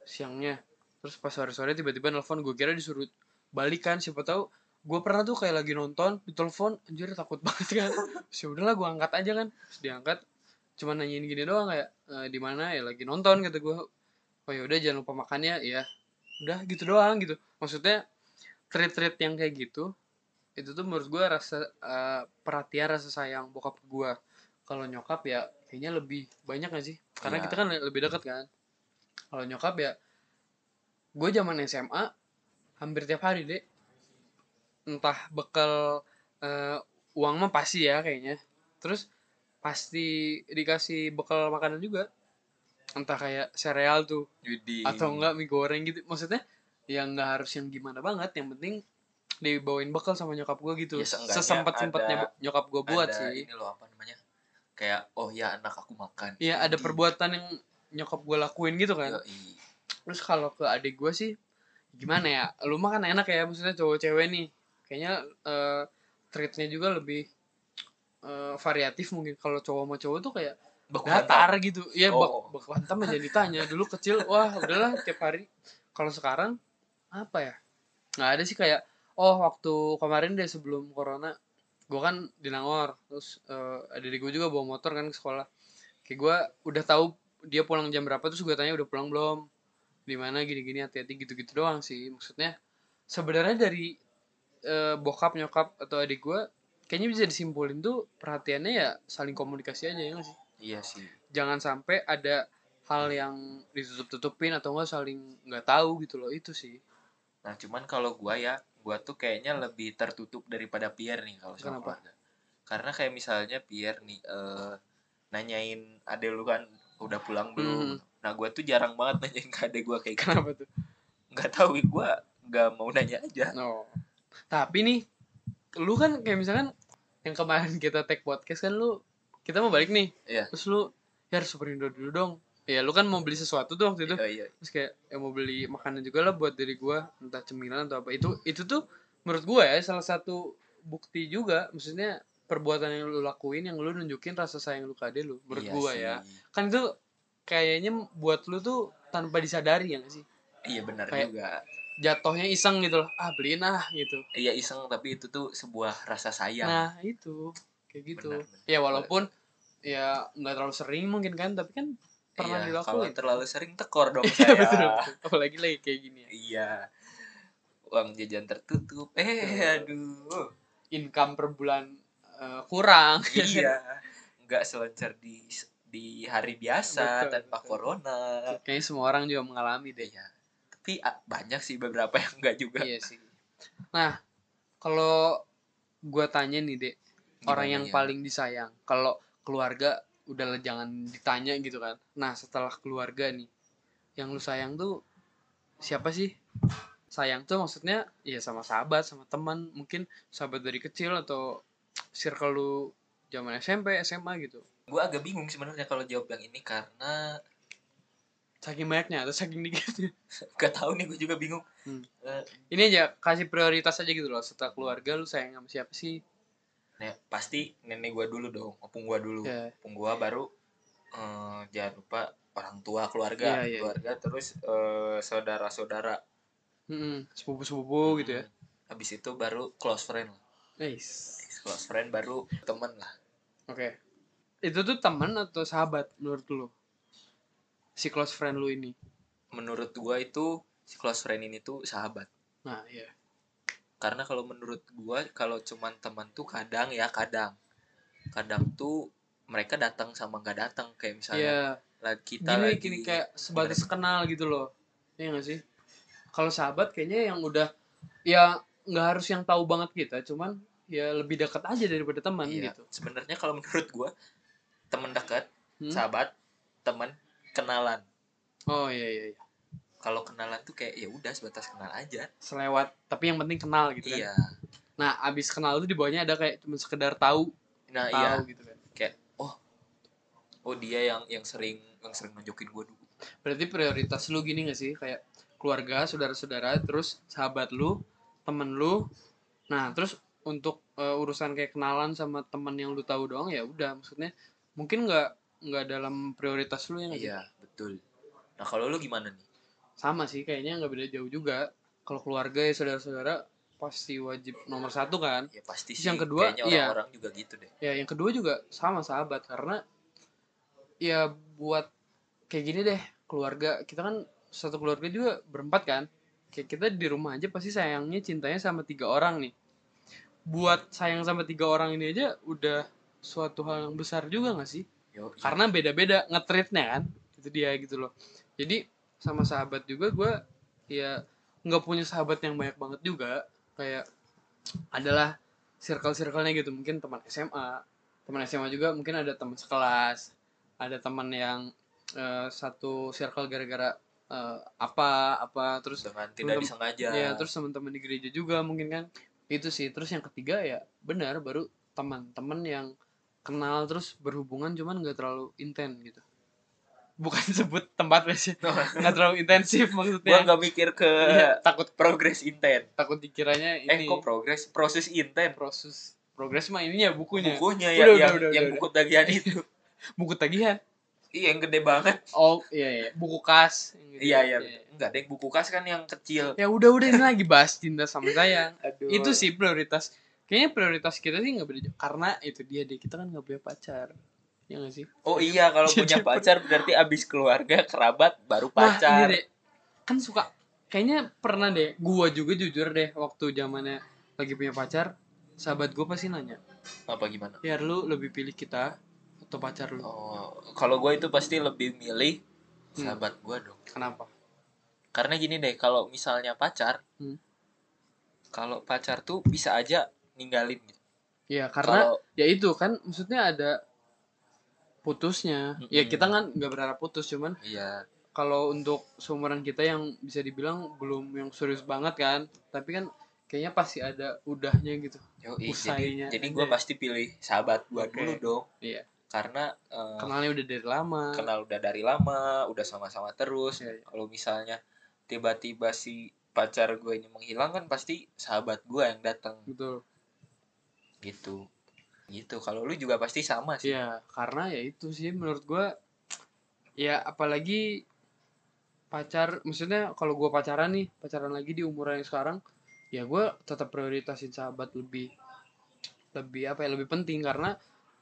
A: siangnya terus pas sore-sore tiba-tiba nelfon gue kira disuruh balikan siapa tahu gue pernah tuh kayak lagi nonton ditelepon anjir takut (laughs) banget kan terus ya udahlah gue angkat aja kan terus diangkat cuman nanyain gini doang kayak "Eh, di mana ya lagi nonton kata gue oh ya udah jangan lupa makannya ya udah gitu doang gitu maksudnya treat-treat yang kayak gitu itu tuh menurut gue rasa eh, perhatian rasa sayang bokap gue kalau nyokap ya kayaknya lebih banyak gak sih karena
B: Iya.
A: kita kan le- lebih dekat kan kalau nyokap ya gue zaman SMA hampir tiap hari deh entah bekal eh, uang mah pasti ya kayaknya terus pasti dikasih bekal makanan juga entah kayak sereal tuh
B: Widih.
A: atau enggak mie goreng gitu maksudnya ya nggak harus yang gimana banget yang penting dibawain bekal sama nyokap gue gitu
B: Ya, seenggaknya
A: sesempat
B: ada-
A: sempatnya nyokap gue buat
B: ada
A: sih
B: ini loh apa namanya kayak oh ya anak aku makan
A: Iya ada
B: Widih.
A: perbuatan yang nyokap gue lakuin gitu kan
B: Yoi.
A: terus kalau ke adik gue sih gimana ya lu mah kan enak ya maksudnya cowok cewek nih kayaknya eh, treatnya juga lebih eh, variatif mungkin kalau cowok sama cowok tuh kayak
B: Baku
A: datar
B: hantam.
A: gitu ya
B: Oh.
A: bak bak hantam aja ditanya dulu kecil wah udahlah tiap hari kalau sekarang apa ya nggak ada sih kayak oh waktu kemarin deh sebelum corona gue kan di Nangor terus ada adik gue juga bawa motor kan ke sekolah kayak gue udah tahu dia pulang jam berapa terus gue tanya udah pulang belum di mana gini-gini hati-hati gitu-gitu doang sih maksudnya sebenarnya dari eh, bokap nyokap atau adik gue kayaknya bisa disimpulin tuh perhatiannya ya saling komunikasi aja ya nggak sih
B: iya sih
A: jangan sampai ada hal yang ditutup-tutupin atau enggak saling nggak tahu gitu loh itu sih (laughs)
B: nah cuman kalau gua ya gua tuh kayaknya lebih tertutup daripada Pierre nih kalau sama
A: Kenapa?
B: keluarga karena kayak misalnya Pierre nih eh nanyain ade lu kan udah pulang
A: Mhm.
B: belum nah gue tuh jarang banget nanyain ke adek gue kayak gitu. (laughs)
A: Kenapa tuh?
B: nggak tahu gue nggak mau nanya aja
A: No. Tapi nih, lu kan kayak misalkan yang kemarin kita take podcast kan lu kita mau balik nih.
B: Iya.
A: Terus lu ya harus Superindo dulu dong. Ya lu kan mau beli sesuatu tuh waktu itu.
B: Iya, iya.
A: Terus kayak ya mau beli makanan juga lah buat diri gua, entah cemilan atau apa. Itu itu tuh menurut gua ya salah satu bukti juga maksudnya perbuatan yang lu lakuin yang lu nunjukin rasa sayang lu ke adek lu menurut
B: Iya
A: gua
B: sih.
A: ya. Kan itu kayaknya buat lu tuh tanpa disadari ya gak sih?
B: iya benar
A: Kayak-
B: juga
A: Jatuhnya iseng gitu loh. Ah, beliin ah gitu.
B: iya iseng tapi itu tuh sebuah rasa sayang
A: Nah itu kayak gitu.
B: Iya. Benar,
A: Ya walaupun ya nggak terlalu sering mungkin kan, tapi kan pernah
B: iya, kalau
A: dilakuin.
B: terlalu sering tekor dong
A: Iya
B: saya
A: (laughs) betul, betul. Apalagi lagi kayak gini ya.
B: iya uang jajan tertutup eh aduh
A: Income per bulan eh, kurang. (laughs)
B: iya (laughs) nggak selancar di di hari biasa
A: Betul,
B: tanpa
A: betul.
B: corona
A: Kayaknya semua orang juga mengalami deh.
B: iya tapi ah, banyak sih beberapa yang enggak juga
A: Iya sih. Nah kalau gua tanya nih dek, orang
B: Gimana
A: yang
B: ya?
A: paling disayang. Kalau keluarga udahlah jangan ditanya gitu kan. Nah setelah keluarga nih, yang lu sayang tuh siapa sih? Sayang tuh maksudnya ya sama sahabat, sama teman, mungkin sahabat dari kecil atau circle lu zaman SMP, SMA gitu.
B: gue agak bingung sebenarnya kalau jawab yang ini karena (laughs)
A: Saking banyaknya atau saking dikitnya.
B: gak tahu nih gue juga bingung
A: Hmm.
B: Eh,
A: (laughs) Ini aja kasih prioritas aja gitu loh. Setelah keluarga lu sayang sama siapa sih?
B: ne- pasti nenek gue dulu dong opung gue dulu
A: Ya,
B: opung gue baru eh, jangan lupa orang tua
A: Iya,
B: keluarga
A: iya, iya.
B: keluarga terus eh, saudara-saudara
A: mm-mm, sepupu-sepupu gitu ya.
B: Hmm. habis itu baru close friend lah.
A: Nice.
B: close friend baru temen lah
A: Oke. Itu tuh teman atau sahabat menurut lu? Si close friend lu ini.
B: menurut gua itu si close friend ini tuh sahabat
A: Nah, iya.
B: karena kalau menurut gua kalau cuman teman tuh kadang ya kadang kadang tuh mereka datang sama nggak datang kayak misalnya
A: Iya,
B: lagi kita
A: gini
B: lagi
A: gini kayak sebatas
B: gimana?
A: kenal gitu loh. Iya gak sih? Kalau sahabat kayaknya yang udah ya nggak harus yang tahu banget kita, cuman ya lebih dekat aja daripada teman
B: Iya.
A: gitu.
B: sebenarnya kalau menurut gua temen dekat
A: Hmm?
B: sahabat temen kenalan
A: Oh iya iya iya.
B: kalau kenalan tuh kayak ya udah sebatas kenal aja
A: Selewat, tapi yang penting kenal gitu kan.
B: iya
A: Nah, abis kenal tuh di bawahnya ada kayak cuma sekedar tahu,
B: nah iya
A: tahu gitu kan.
B: oh dia yang yang sering yang sering nunjukin gua dulu
A: Berarti prioritas lu gini gak sih? Kayak keluarga, saudara-saudara, terus sahabat lu, temen lu. Nah, terus untuk eh, urusan kayak kenalan sama temen yang lu tahu doang ya udah maksudnya mungkin nggak nggak dalam prioritas lu ya nggak sih?
B: Iya, betul. Nah, kalau lu gimana nih?
A: Sama sih kayaknya nggak beda jauh juga. Kalau keluarga ya saudara-saudara pasti wajib nomor satu kan.
B: Ya pasti
A: Terus
B: sih.
A: yang kedua,
B: kayaknya
A: iya.
B: orang-orang juga gitu deh.
A: Ya yang kedua juga sama sahabat karena ya buat kayak gini deh keluarga kita kan satu keluarga juga berempat kan kayak kita di rumah aja pasti sayangnya cintanya sama tiga orang nih buat sayang sama tiga orang ini aja udah suatu hal yang besar juga gak sih
B: Yo, iya.
A: karena beda-beda ngetreatnya kan itu dia gitu loh jadi sama sahabat juga gue ya nggak punya sahabat yang banyak banget juga kayak adalah circle-circlenya gitu mungkin teman SMA teman SMA juga mungkin ada teman sekelas ada teman yang eh, satu circle gara-gara eh, apa apa terus
B: dengan tidak
A: belum-
B: disengaja.
A: ya terus teman-teman di gereja juga mungkin kan itu sih terus yang ketiga ya benar baru teman-teman yang kenal terus berhubungan cuman nggak terlalu inten gitu bukan (laughs) sebut tempat sih nggak terlalu intensif
B: gua
A: maksudnya
B: nggak mikir ke
A: Iya, takut
B: progres intent.
A: takut dikiranya ini
B: Eh, kok progres? Proses intent.
A: proses progres mah ininya bukunya buku,
B: Bukunya ya,
A: Udah,
B: yang,
A: udah, udah,
B: yang
A: udah,
B: buku tagihan
A: (laughs)
B: itu.
A: tagihan
B: Iya, yang gede banget.
A: oh iya iya buku kas yang gitu.
B: Iya, iya. Enggak, deh buku kas kan yang kecil.
A: ya udah udah ini lagi bahas cinta sama sayang
B: Aduh.
A: itu sih prioritas kayaknya prioritas kita sih nggak beda jauh. karena itu dia deh kita kan nggak punya pacar ya nggak sih
B: Oh iya, kalau punya
A: (laughs) Jadi-
B: pacar berarti abis keluarga, kerabat, baru
A: Nah,
B: pacar.
A: ini deh, kan suka kayaknya pernah deh gua juga jujur deh waktu zamannya lagi punya pacar sahabat gua pasti nanya
B: Apa gimana?
A: ya lu lebih pilih kita atau pacar lu
B: Oh, kalau gue itu pasti lebih milih
A: Hmm.
B: sahabat gua dong.
A: kenapa
B: karena gini deh kalau misalnya pacar
A: Hmm.
B: kalau pacar tuh bisa aja ninggalin gitu.
A: ya karena
B: kalau
A: ya itu kan maksudnya ada putusnya
B: Mm-mm.
A: ya kita kan nggak berharap putus cuman
B: Iya.
A: kalau untuk seumuran kita yang bisa dibilang belum yang serius banget kan tapi kan kayaknya pasti ada udahnya gitu
B: Yoi,
A: Usainya
B: jadi jadi gue
A: aja.
B: pasti pilih sahabat gue
A: Oke.
B: dulu dong.
A: Iya.
B: Karena eh,
A: kenalnya udah dari lama
B: kenal udah dari lama, udah sama-sama terus.
A: Iya, iya.
B: Kalau misalnya tiba-tiba si pacar gue ini menghilang kan pasti sahabat gue yang datang
A: betul
B: gitu. Gitu. Kalau lu juga pasti sama sih.
A: ya karena ya itu sih menurut gua ya apalagi pacar maksudnya kalau gua pacaran nih pacaran lagi di umuran yang sekarang ya gua tetap prioritasin sahabat lebih lebih apa ya lebih penting karena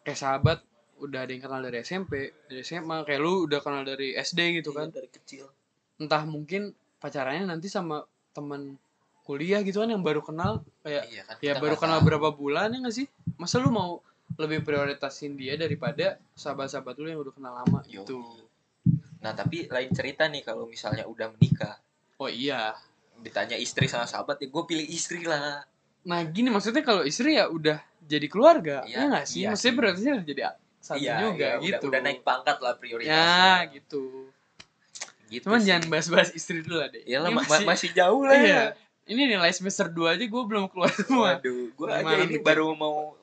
A: kayak sahabat udah ada yang kenal dari SMP dari SMA kayak lu udah kenal dari SD gitu kan
B: dari kecil.
A: entah mungkin pacarannya nanti sama teman kuliah gitu kan yang baru kenal kayak
B: Iya kan.
A: ya
B: kita
A: baru
B: nggak
A: kenal
B: tahu.
A: berapa bulan ya nggak sih masa lu mau lebih prioritasin dia daripada sahabat-sahabat lu yang udah kenal lama
B: Yoi.
A: gitu
B: Nah, tapi lain cerita nih kalau misalnya udah menikah,
A: oh iya
B: ditanya istri sama sahabat ya gue pilih istri lah.
A: nah gini maksudnya kalau istri ya udah jadi keluarga
B: Iya,
A: ya nggak sih
B: iya
A: maksudnya
B: sih.
A: prioritasnya harus jadi satu
B: Iya,
A: juga
B: iya,
A: gitu
B: Udah, udah naik pangkat lah prioritasnya.
A: ya gitu
B: Gitu
A: cuman
B: sih.
A: jangan bahas-bahas istri dulu lah deh
B: Iyalah,
A: Ini
B: ma- ma- masih, jauh lah. ya.
A: iya. ini nilai semester 2 aja gue belum keluar semua
B: Waduh, gue
A: Gimana
B: aja ini
A: tuh,
B: baru mau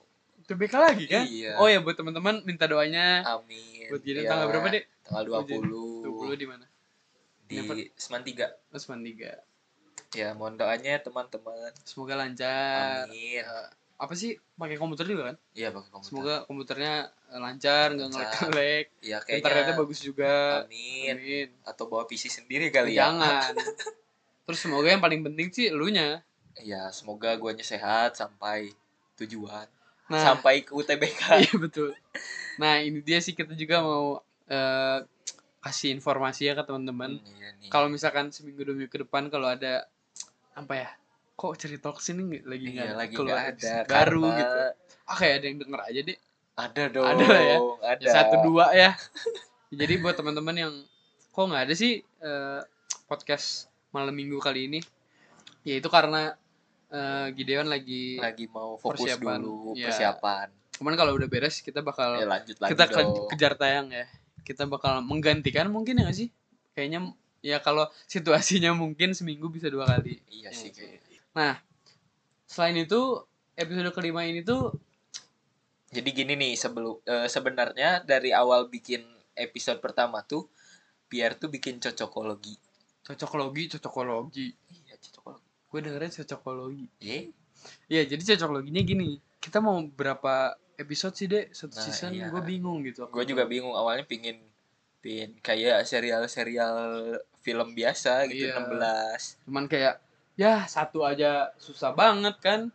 A: TBK lagi kan
B: Iya.
A: oh ya buat teman-teman minta doanya
B: amin.
A: buat gini
B: Iya.
A: tanggal berapa deh
B: Tanggal 20.
A: 20 di mana
B: di
A: Dapat.
B: Seman 3.
A: Usman 3
B: Ya, mohon doanya teman-teman.
A: semoga lancar
B: Amin.
A: Eh, apa sih pakai komputer juga kan
B: Iya, pakai komputer.
A: semoga komputernya eh, lancar nggak
B: Lancar.
A: ngelek-ngelek
B: ya
A: internetnya
B: kayaknya
A: bagus juga
B: amin.
A: amin
B: Atau bawa PC sendiri kali ya. (laughs)
A: jangan terus semoga yang paling penting sih elunya
B: Ya, semoga guanya sehat sampai tujuan.
A: nah
B: Sampai ke UTBK.
A: (laughs) iya betul nah ini dia sih kita juga mau eh, kasih informasi ya ke teman-teman
B: Hmm, iya nih.
A: kalau misalkan seminggu dua minggu ke depan kalau ada apa ya kok cerita sini lagi nggak
B: Iya, lagi
A: keluar
B: nggak ada
A: episode baru
B: karena
A: gitu ah kayak ada yang denger aja deh
B: Ada dong.
A: Ada lah ya.
B: Ada.
A: Ya, satu dua ya (laughs) jadi buat teman-teman yang kok nggak ada sih eh, podcast malam minggu kali ini ya itu karena eh, Gideon lagi
B: Lagi mau fokus
A: Persiapan.
B: dulu
A: Iya.
B: persiapan.
A: cuman kalau udah beres kita
B: Ya,
A: bakal
B: lanjut lagi
A: kita ke-
B: dong.
A: kejar tayang ya kita bakal menggantikan mungkin ya nggak sih kayaknya ya kalau situasinya mungkin seminggu bisa dua kali
B: Iya
A: Ya,
B: sih
A: sih.
B: kayaknya.
A: selain itu episode kelima ini tuh
B: Jadi gini nih sebelum eh, sebenarnya dari awal bikin episode pertama tuh biar tuh bikin cocokologi.
A: cocokologi cocokologi
B: Iya, cocokologi.
A: gue dengerin cocokologi
B: Eh,
A: Iya, jadi cocokologinya gini. Kita mau berapa episode sih, Dek? Satu
B: Nah,
A: season
B: iya.
A: gue bingung gitu.
B: gue juga bingung awalnya pingin pingin kayak serial-serial film biasa gitu
A: Iya.
B: 16.
A: Cuman kayak ya satu aja susah banget kan.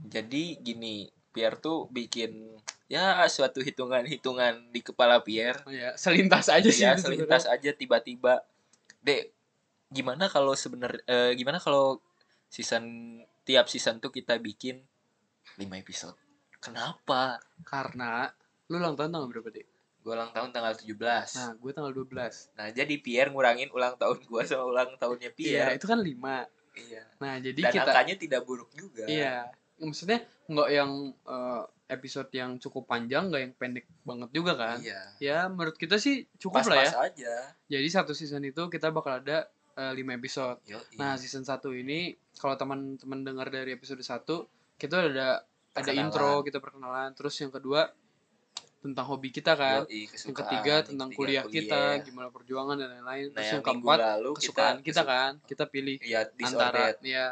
B: Jadi gini, Pierre tuh bikin ya suatu hitungan-hitungan di kepala Pierre.
A: Ya, selintas aja sih
B: Ya
A: itu
B: selintas aja tiba-tiba. Dek, gimana kalau sebenarnya gimana kalau season tiap season tuh kita bikin 5 episode. Kenapa?
A: sebenarnya. Karena lu ulang tahun tanggal berapa, Dek?
B: Gue ulang tahun tanggal 17.
A: Nah,
B: Nah,
A: gue tanggal 12.
B: jadi Pierre ngurangin ulang tahun gua sama ulang
A: Iya,
B: tahunnya Pierre.
A: itu kan 5.
B: Iya.
A: Nah, jadi
B: Dan
A: kita
B: angkanya tidak buruk juga.
A: Iya. Maksudnya nggak yang eh, episode yang cukup panjang, nggak yang pendek banget juga kan.
B: Iya.
A: Ya, menurut kita sih cukup lah ya.
B: Pas-pas aja.
A: Jadi satu season itu kita bakal ada 5 episode.
B: Yoi.
A: Nah, season 1 ini kalau teman-teman dengar dari episode 1, kita ada ada
B: Perkenalan.
A: intro, kita perkenalan. Terus yang kedua tentang hobi kita kan.
B: Yoi,
A: yang
B: kesukaan.
A: ketiga tentang
B: ketiga iya.
A: kuliah, kita, gimana perjualan dan lain-lain.
B: ya, Nah,
A: Terus
B: yang
A: yang
B: minggu
A: keempat
B: lalu
A: kesukaan kita,
B: kesu-
A: kan. Kita pilih
B: Iya,
A: antara
B: disordered.
A: ya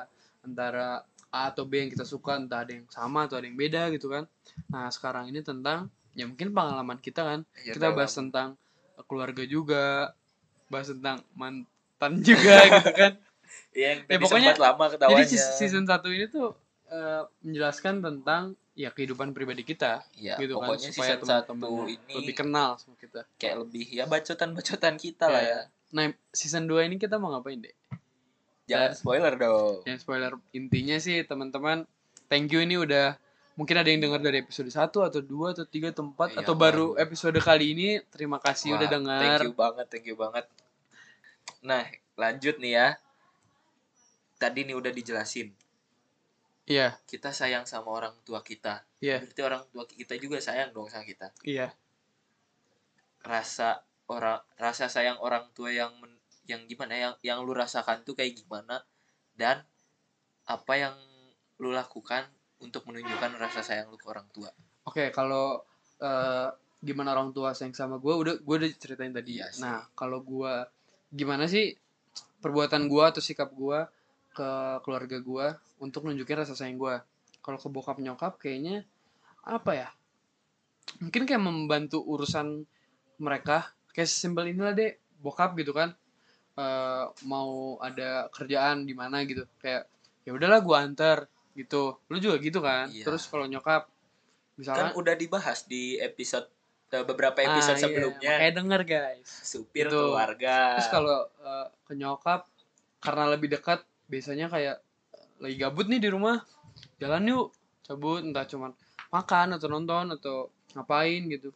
A: antara A atau B yang kita suka, entah ada yang sama atau ada yang beda gitu kan. Nah, sekarang ini tentang ya mungkin pengalaman kita kan.
B: Iya,
A: kita
B: dalam-
A: bahas tentang eh, keluarga juga, bahas tentang mantan (laughs) juga gitu
B: (laughs)
A: kan.
B: Iya, yang
A: Ya,
B: tadi
A: pokoknya-
B: sempat lama ketawanya.
A: Jadi seas- season 1 ini tuh eh, menjelaskan tentang ya kehidupan pribadi kita
B: Iya,
A: gitu kan
B: pokoknya
A: supaya
B: season satu
A: teman-teman
B: ini
A: lebih kenal sama kita.
B: kayak lebih ya bacotan-bacotan kita lah ya.
A: Ya. Nah, season 2 ini kita mau ngapain, Dek?
B: Jangan spoiler dong.
A: Yang spoiler intinya sih teman-teman, thank you ini udah mungkin ada yang dengar dari episode 1 atau 2 atau 3 atau 4
B: Iya,
A: atau baru
B: baru.
A: episode kali ini. Terima kasih
B: Wah,
A: udah dengar.
B: Thank you banget, thank you banget. Nah, lanjut nih ya. Tadi nih udah dijelasin.
A: Iya,
B: Kita sayang sama orang tua kita.
A: iya,
B: Berarti orang tua kita juga sayang dong sama kita.
A: iya.
B: rasa orang rasa sayang orang tua yang men- yang gimana yang yang lu rasakan tuh kayak gimana dan apa yang lu lakukan untuk menunjukkan rasa sayang lu ke orang tua
A: Oke, kalau eh, gimana orang tua sayang sama gue, udah gue udah ceritain tadi.
B: Iya sih.
A: Nah, kalau gue gimana sih perbuatan gue atau sikap gue ke keluarga gue untuk nunjukin rasa sayang gue? Kalau ke bokap nyokap kayaknya apa ya? Mungkin kayak membantu urusan mereka kayak sesimpel inilah deh bokap gitu kan Eh, mau ada kerjaan di mana gitu kayak ya udahlah gue antar gitu lu juga gitu kan
B: Iya.
A: terus kalau nyokap
B: kan
A: misalkan
B: udah dibahas di episode eh, beberapa
A: Ah,
B: episode
A: iya,
B: sebelumnya Ah.
A: makanya denger guys
B: supir
A: Itu.
B: keluarga
A: terus kalau eh, ke nyokap karena lebih dekat biasanya kayak eh, lagi gabut nih di rumah jalan yuk cabut entah cuman makan atau nonton atau ngapain gitu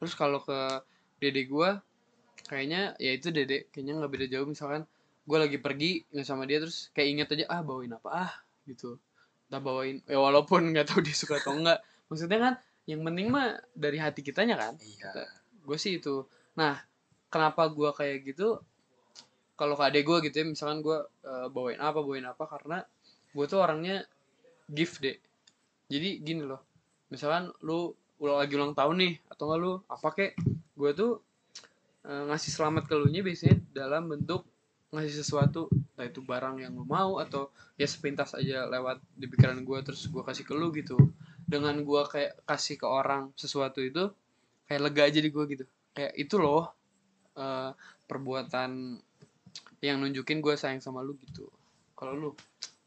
A: terus kalau ke dede gua kayaknya ya itu dede kayaknya nggak beda jauh misalkan gua lagi pergi nggak sama dia terus kayak inget aja ah bawain apa ah gitu entah bawain ya walaupun nggak tahu dia suka atau enggak maksudnya kan yang penting mah dari hati kitanya kan
B: iya
A: gue sih itu nah kenapa gue kayak gitu kalau ke adek gue gitu ya misalkan gue bawain apa bawain apa karena gue tuh orangnya gift deh jadi gini loh misalkan lu ulang lagi ulang tahun nih atau nggak lu apa kek gue tuh eh, ngasih selamat ke lu nya biasanya dalam bentuk ngasih sesuatu entah itu barang yang lu mau atau ya sepintas aja lewat di pikiran gue terus gue kasih ke lu gitu dengan gue kayak kasih ke orang sesuatu itu kayak lega aja di gue gitu kayak itu loh eh, perbuatan yang nunjukin gue sayang sama lu gitu kalau lu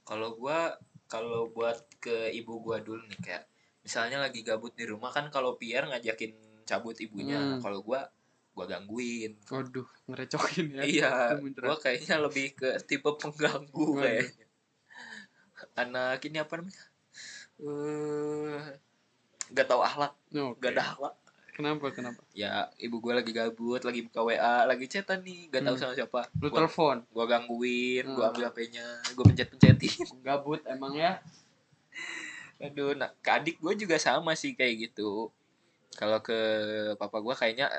B: kalau gua kalau buat ke ibu gua dulu nih kayak misalnya lagi gabut di rumah kan kalau Pierre ngajakin cabut ibunya
A: Hmm.
B: Nah, kalau gua gua gangguin
A: waduh ngerecokin ya
B: iya
A: Lu muncrat.
B: gua kayaknya lebih ke tipe pengganggu
A: Waduh.
B: kayaknya anak ini apa namanya eh gak tahu akhlak
A: No, oke.
B: gak ada akhlak
A: kenapa kenapa
B: ya ibu gua lagi gabut lagi buka wa lagi chatan nih gak tahu
A: Hmm.
B: sama siapa
A: lu
B: gua,
A: telepon
B: gua gangguin
A: Hmm.
B: gua ambil hpnya gua pencet pencetin
A: gabut emang ya
B: Aduh, nah, ke adik gue juga sama sih kayak gitu. Kalau ke papa gue kayaknya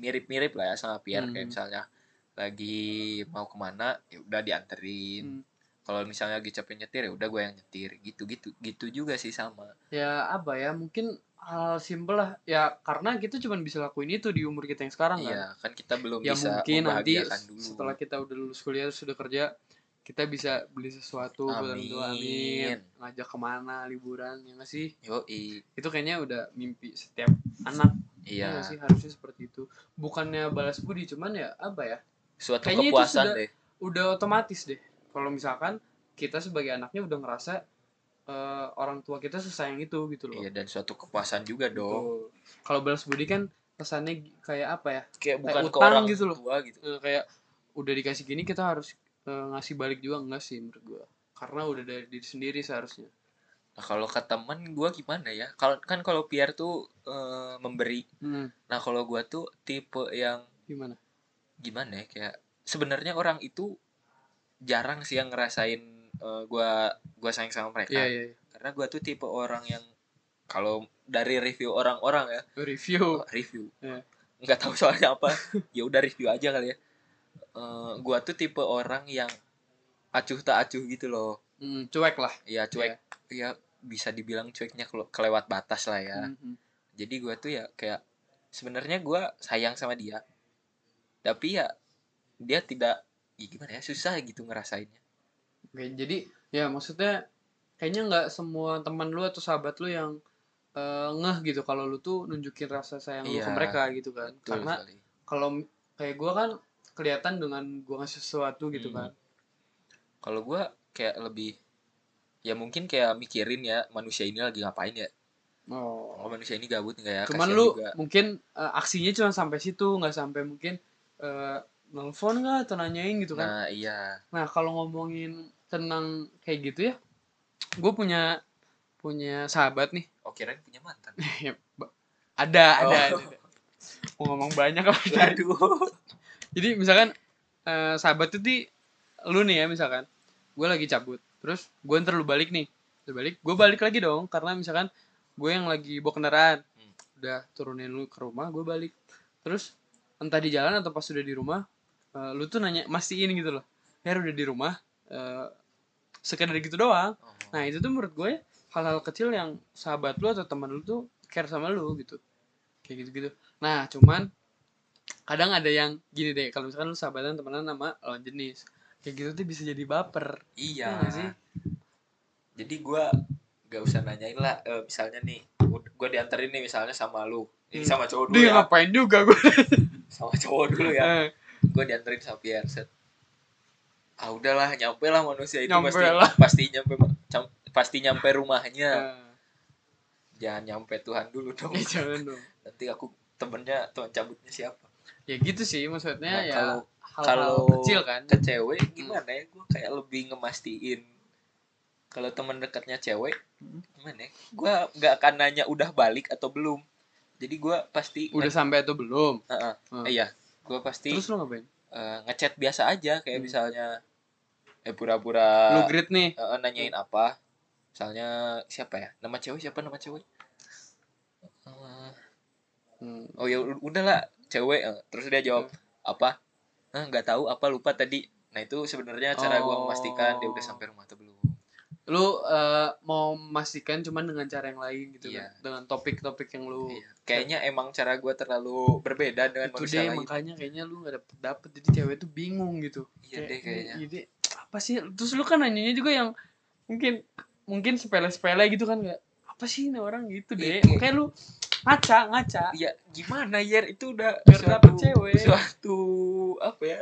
B: mirip-mirip lah ya sama Pierre
A: Hmm.
B: kayak misalnya lagi mau kemana ya udah dianterin.
A: Hmm.
B: Kalau misalnya lagi capek nyetir ya udah gue yang nyetir gitu-gitu gitu juga sih sama.
A: ya apa ya mungkin hal simpel lah ya karena kita cuma bisa lakuin itu di umur kita yang sekarang kan
B: Iya kan kita belum
A: ya
B: bisa
A: mungkin nanti
B: membahagiakan dulu.
A: setelah kita udah lulus kuliah sudah kerja kita bisa beli sesuatu buat orang tua
B: Amin.
A: amin ngajak kemana liburan ya nggak sih
B: Yoi.
A: itu kayaknya udah mimpi setiap anak ya
B: Iya.
A: nggak sih harusnya seperti itu bukannya balas budi cuman ya apa ya
B: Suatu
A: Kayaknya itu
B: kepuasan
A: sudah-
B: deh.
A: udah otomatis deh kalau misalkan kita sebagai anaknya udah ngerasa eh, orang tua kita sesayang itu gitu loh
B: Iya dan suatu kepuasan juga
A: Betul.
B: dong.
A: kalau balas budi kan kesannya gi- kayak apa ya
B: Kayak bukan ke
A: utang
B: orang
A: gitu loh.
B: tua gitu.
A: Eh, kayak udah dikasih gini kita harus eh, ngasih balik juga enggak sih menurut gua karena udah dari diri sendiri seharusnya
B: Nah, kalau ke temen gue gimana ya? Kalau kan kalau Pierre tuh eh, memberi. Nah, kalau gue tuh tipe yang
A: gimana
B: gimana ya? Kayak sebenarnya orang itu jarang sih yang ngerasain eh, gua gue sayang sama mereka.
A: iya iya iya.
B: Karena gue tuh tipe orang yang kalau dari review orang-orang ya,
A: review
B: oh, review.
A: Iya.
B: Nggak tahu soalnya apa. (laughs) ya udah review aja kali ya. Eh, gue tuh tipe orang yang acuh tak acuh gitu loh.
A: Hmm, cuek lah
B: Ya cuek,
A: Iya.
B: ya bisa dibilang cueknya kelo- kelewat batas lah ya.
A: Hmm, hmm.
B: jadi gua tuh ya kayak sebenarnya gua sayang sama dia tapi ya dia tidak ya gimana ya susah gitu ngerasainnya
A: oke jadi ya maksudnya kayaknya nggak semua teman lu atau sahabat lu yang eh, ngeh gitu kalau lu tuh nunjukin rasa sayang lu ke
B: Iya.
A: mereka gitu kan
B: Betul
A: karena
B: sekali.
A: kalau m- kayak gua kan kelihatan dengan gua ngasih sesuatu gitu
B: Hmm.
A: kan
B: kalau gua kayak lebih ya mungkin kayak mikirin ya manusia ini lagi ngapain ya
A: oh
B: oh, manusia ini gabut nggak ya
A: cuman
B: Kasihan
A: lu
B: juga.
A: mungkin eh, aksinya cuma sampai situ nggak sampai mungkin eh, nelfon nggak atau nanyain gitu kan
B: nah iya
A: nah kalau ngomongin tentang kayak gitu ya gue punya punya sahabat nih
B: oh kirain punya
A: (laughs)
B: mantan
A: Ya, ba- ada ada,
B: Oh.
A: ada, ada. mau ngomong banyak
B: (laughs)
A: apa tadi?
B: aduh
A: jadi misalkan eh, sahabat tuh di lu nih ya misalkan gue lagi cabut terus gue ntar lu balik nih lu balik gue balik lagi dong karena misalkan gue yang lagi bawa kendaraan
B: Hmm.
A: udah turunin lu ke rumah gue balik terus entah di jalan atau pas sudah di rumah eh, lu tuh nanya mastiin gitu loh ya udah di rumah eh, sekedar gitu doang
B: Oh.
A: nah itu tuh menurut gue hal-hal kecil yang sahabat lu atau teman lu tuh care sama lu gitu kayak gitu-gitu nah cuman kadang ada yang gini deh kalau misalkan lu sahabatan temenan sama lawan jenis kayak gitu tuh bisa jadi baper Iya
B: Iya.
A: nggak sih?
B: Jadi gua gak usah nanyain lah. eh, misalnya nih, gue dianterin nih misalnya sama lu, ini
A: Hmm.
B: sama cowok dulu
A: dia
B: ya,
A: ngapain juga gue
B: sama cowok dulu
A: (laughs)
B: ya.
A: Eh,
B: Gue dianterin sama Pierre. set. Ah udahlah, nyampe lah manusia itu
A: Nyampe
B: pasti
A: lah.
B: pasti nyampe cam- pasti nyampe
A: (laughs)
B: rumahnya.
A: eh,
B: Jangan nyampe Tuhan dulu dong.
A: ya jangan dong
B: Nanti aku temennya tuan cabutnya siapa?
A: ya gitu sih maksudnya
B: Nah,
A: ya
B: kalau-
A: hal-hal
B: kalau
A: kecil kan
B: ke cewek gimana ya gue kayak lebih ngemastiin kalau teman dekatnya cewek
A: Hmm.
B: gimana ya gue nggak akan nanya udah balik atau belum jadi gue pasti
A: udah sampai atau belum
B: Heeh,
A: Hmm.
B: iya gue pasti
A: terus lu ngapain
B: eh, ngechat biasa aja kayak
A: Hmm.
B: misalnya eh
A: lu
B: pura-pura
A: grid nih
B: eh, nanyain
A: Hmm.
B: apa misalnya siapa ya nama cewek siapa nama cewek Eh,
A: Hmm.
B: oh ya ud- udahlah cewek eh, terus dia jawab apa "Hah, nggak tahu apa lupa tadi nah itu sebenarnya cara gua
A: Oh.
B: memastikan dia udah sampai rumah atau belum
A: lu eh, mau memastikan cuman dengan cara yang lain gitu
B: Iya.
A: kan dengan topik-topik yang lu
B: Iya. kayaknya emang cara gua terlalu berbeda dengan
A: itu
B: manusia
A: deh
B: lain
A: makanya kayaknya lu nggak dapet dapet jadi cewek tuh bingung gitu
B: iya deh kayaknya
A: "Ini- ini apa sih terus lu kan nanyanya juga yang mungkin mungkin sepele-sepele gitu kan kayak apa sih ini orang gitu
B: Iya,
A: deh
B: kayak-
A: makanya lu ngaca ngaca
B: iya gimana yer itu udah
A: Biar dapet
B: suatu
A: cewek.
B: suatu apa ya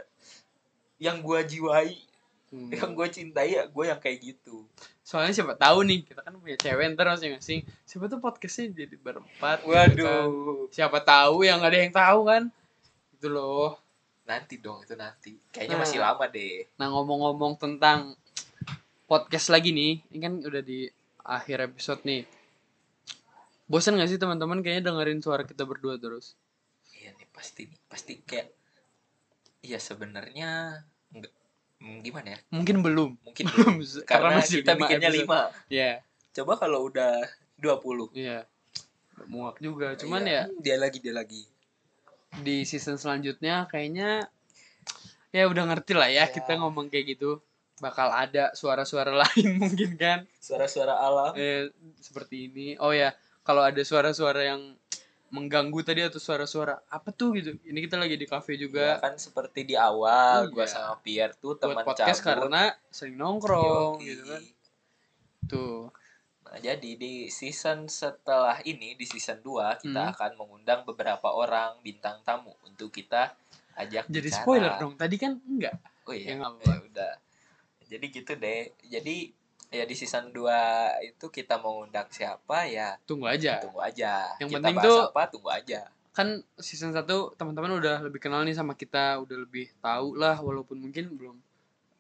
B: yang gua jiwai
A: Hmm.
B: yang gua cintai ya gua yang kayak gitu
A: soalnya siapa tahu nih kita kan punya cewek ntar masing-masing siapa tuh podcastnya jadi berempat gitu kan.
B: waduh
A: siapa tahu yang nggak ada yang tahu kan gitu loh
B: nanti dong itu nanti kayaknya
A: Nah.
B: masih lama deh
A: nah ngomong-ngomong tentang podcast lagi nih ini kan udah di akhir episode nih bosan gak sih teman-teman kayaknya dengerin suara kita berdua terus
B: Iya nih pasti nih pasti kayak Iya sebenarnya enggak hmm, gimana ya
A: mungkin belum (laughs)
B: mungkin
A: belum
B: karena, kita bikinnya
A: episode.
B: 5
A: ya
B: coba kalau udah 20
A: ya muak juga cuman
B: Iya,
A: ya
B: hmm, dia lagi dia lagi
A: di season selanjutnya kayaknya ya udah ngerti lah ya
B: Ya.
A: kita ngomong kayak gitu bakal ada suara-suara (laughs) lain mungkin kan
B: suara-suara alam
A: eh, seperti ini oh ya kalau ada suara-suara yang mengganggu tadi atau suara-suara apa tuh gitu ini kita lagi di cafe
B: juga
A: juga
B: kan seperti di awal
A: Iya.
B: gua sama Pierre tuh teman
A: buat podcast
B: cabut
A: karena sering nongkrong
B: Yoi.
A: gitu kan tuh
B: Nah, jadi di season setelah ini di season 2 kita
A: Hmm.
B: akan mengundang beberapa orang bintang tamu untuk kita ajak
A: jadi
B: bicara.
A: spoiler dong tadi kan enggak
B: Oh iya.
A: Ya, nggak apa-apa.
B: (laughs) ya udah. Jadi gitu deh. Jadi ya di season 2 itu kita mau undang siapa ya
A: tunggu aja
B: tunggu aja.
A: Iya. Yang
B: kita
A: penting
B: bahas
A: tuh-
B: apa tunggu aja.
A: kan season 1 teman-teman udah lebih kenal nih sama kita udah lebih tahu lah walaupun mungkin belum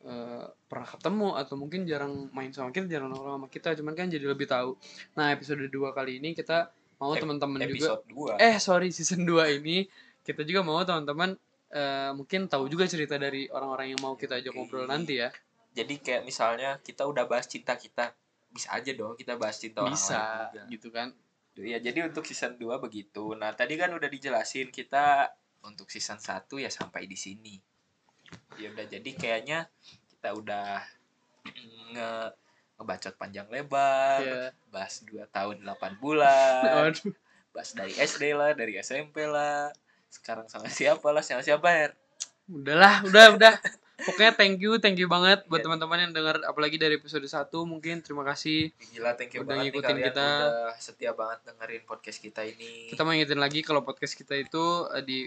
A: eh, pernah ketemu atau mungkin jarang main sama kita jarang nongkrong sama kita cuman kan jadi lebih tahu nah episode 2 kali ini kita mau
B: Ep-
A: teman-teman juga
B: Episode 2.
A: eh sorry season 2 ini kita juga mau teman-teman eh, mungkin tahu juga cerita dari orang-orang yang mau kita ajak
B: Oke.
A: ngobrol nanti ya
B: Jadi kayak misalnya kita udah bahas cinta kita bisa aja dong kita bahas cinta
A: bisa
B: orang lain juga.
A: gitu kan
B: Tuh, Ya, jadi untuk season 2 begitu. Nah, tadi kan udah dijelasin kita untuk season 1 ya sampai di sini. Ya udah jadi kayaknya kita udah (clears throat) nge ngebacot panjang lebar.
A: ya
B: bahas 2 tahun 8 bulan,
A: Aduh.
B: bahas dari SD lah, dari SMP lah, sekarang sama siapa lah, sama siapa Her?
A: udahlah udah udah pokoknya thank you thank you banget buat
B: Iya.
A: teman-teman yang dengar apalagi dari episode 1 mungkin terima kasih
B: Gila, thank you
A: Udah
B: banget nih
A: ngikutin
B: kalian
A: kita.
B: udah setia banget dengerin podcast kita ini.
A: kita mau ingetin lagi kalau podcast kita itu eh, di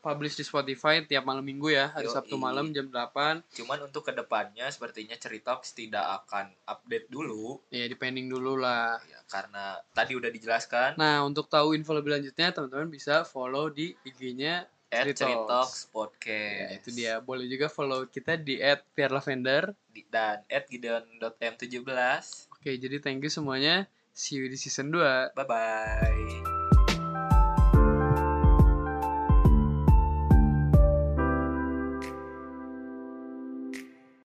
A: publish di Spotify tiap malam minggu ya hari
B: Yoi.
A: Sabtu malam jam 8
B: Cuman untuk kedepannya sepertinya cerita tidak akan update dulu
A: ya depending dulu lah
B: ya karena tadi udah dijelaskan
A: nah untuk tahu info lebih lanjutnya teman-teman bisa follow di IG-nya
B: at
A: Ceritox.
B: Ceritox
A: ya,
B: Podcast
A: itu dia boleh juga follow kita di @pierlavender
B: Di- dan at gideon.m17
A: oke jadi thank you semuanya see you di season 2
B: bye bye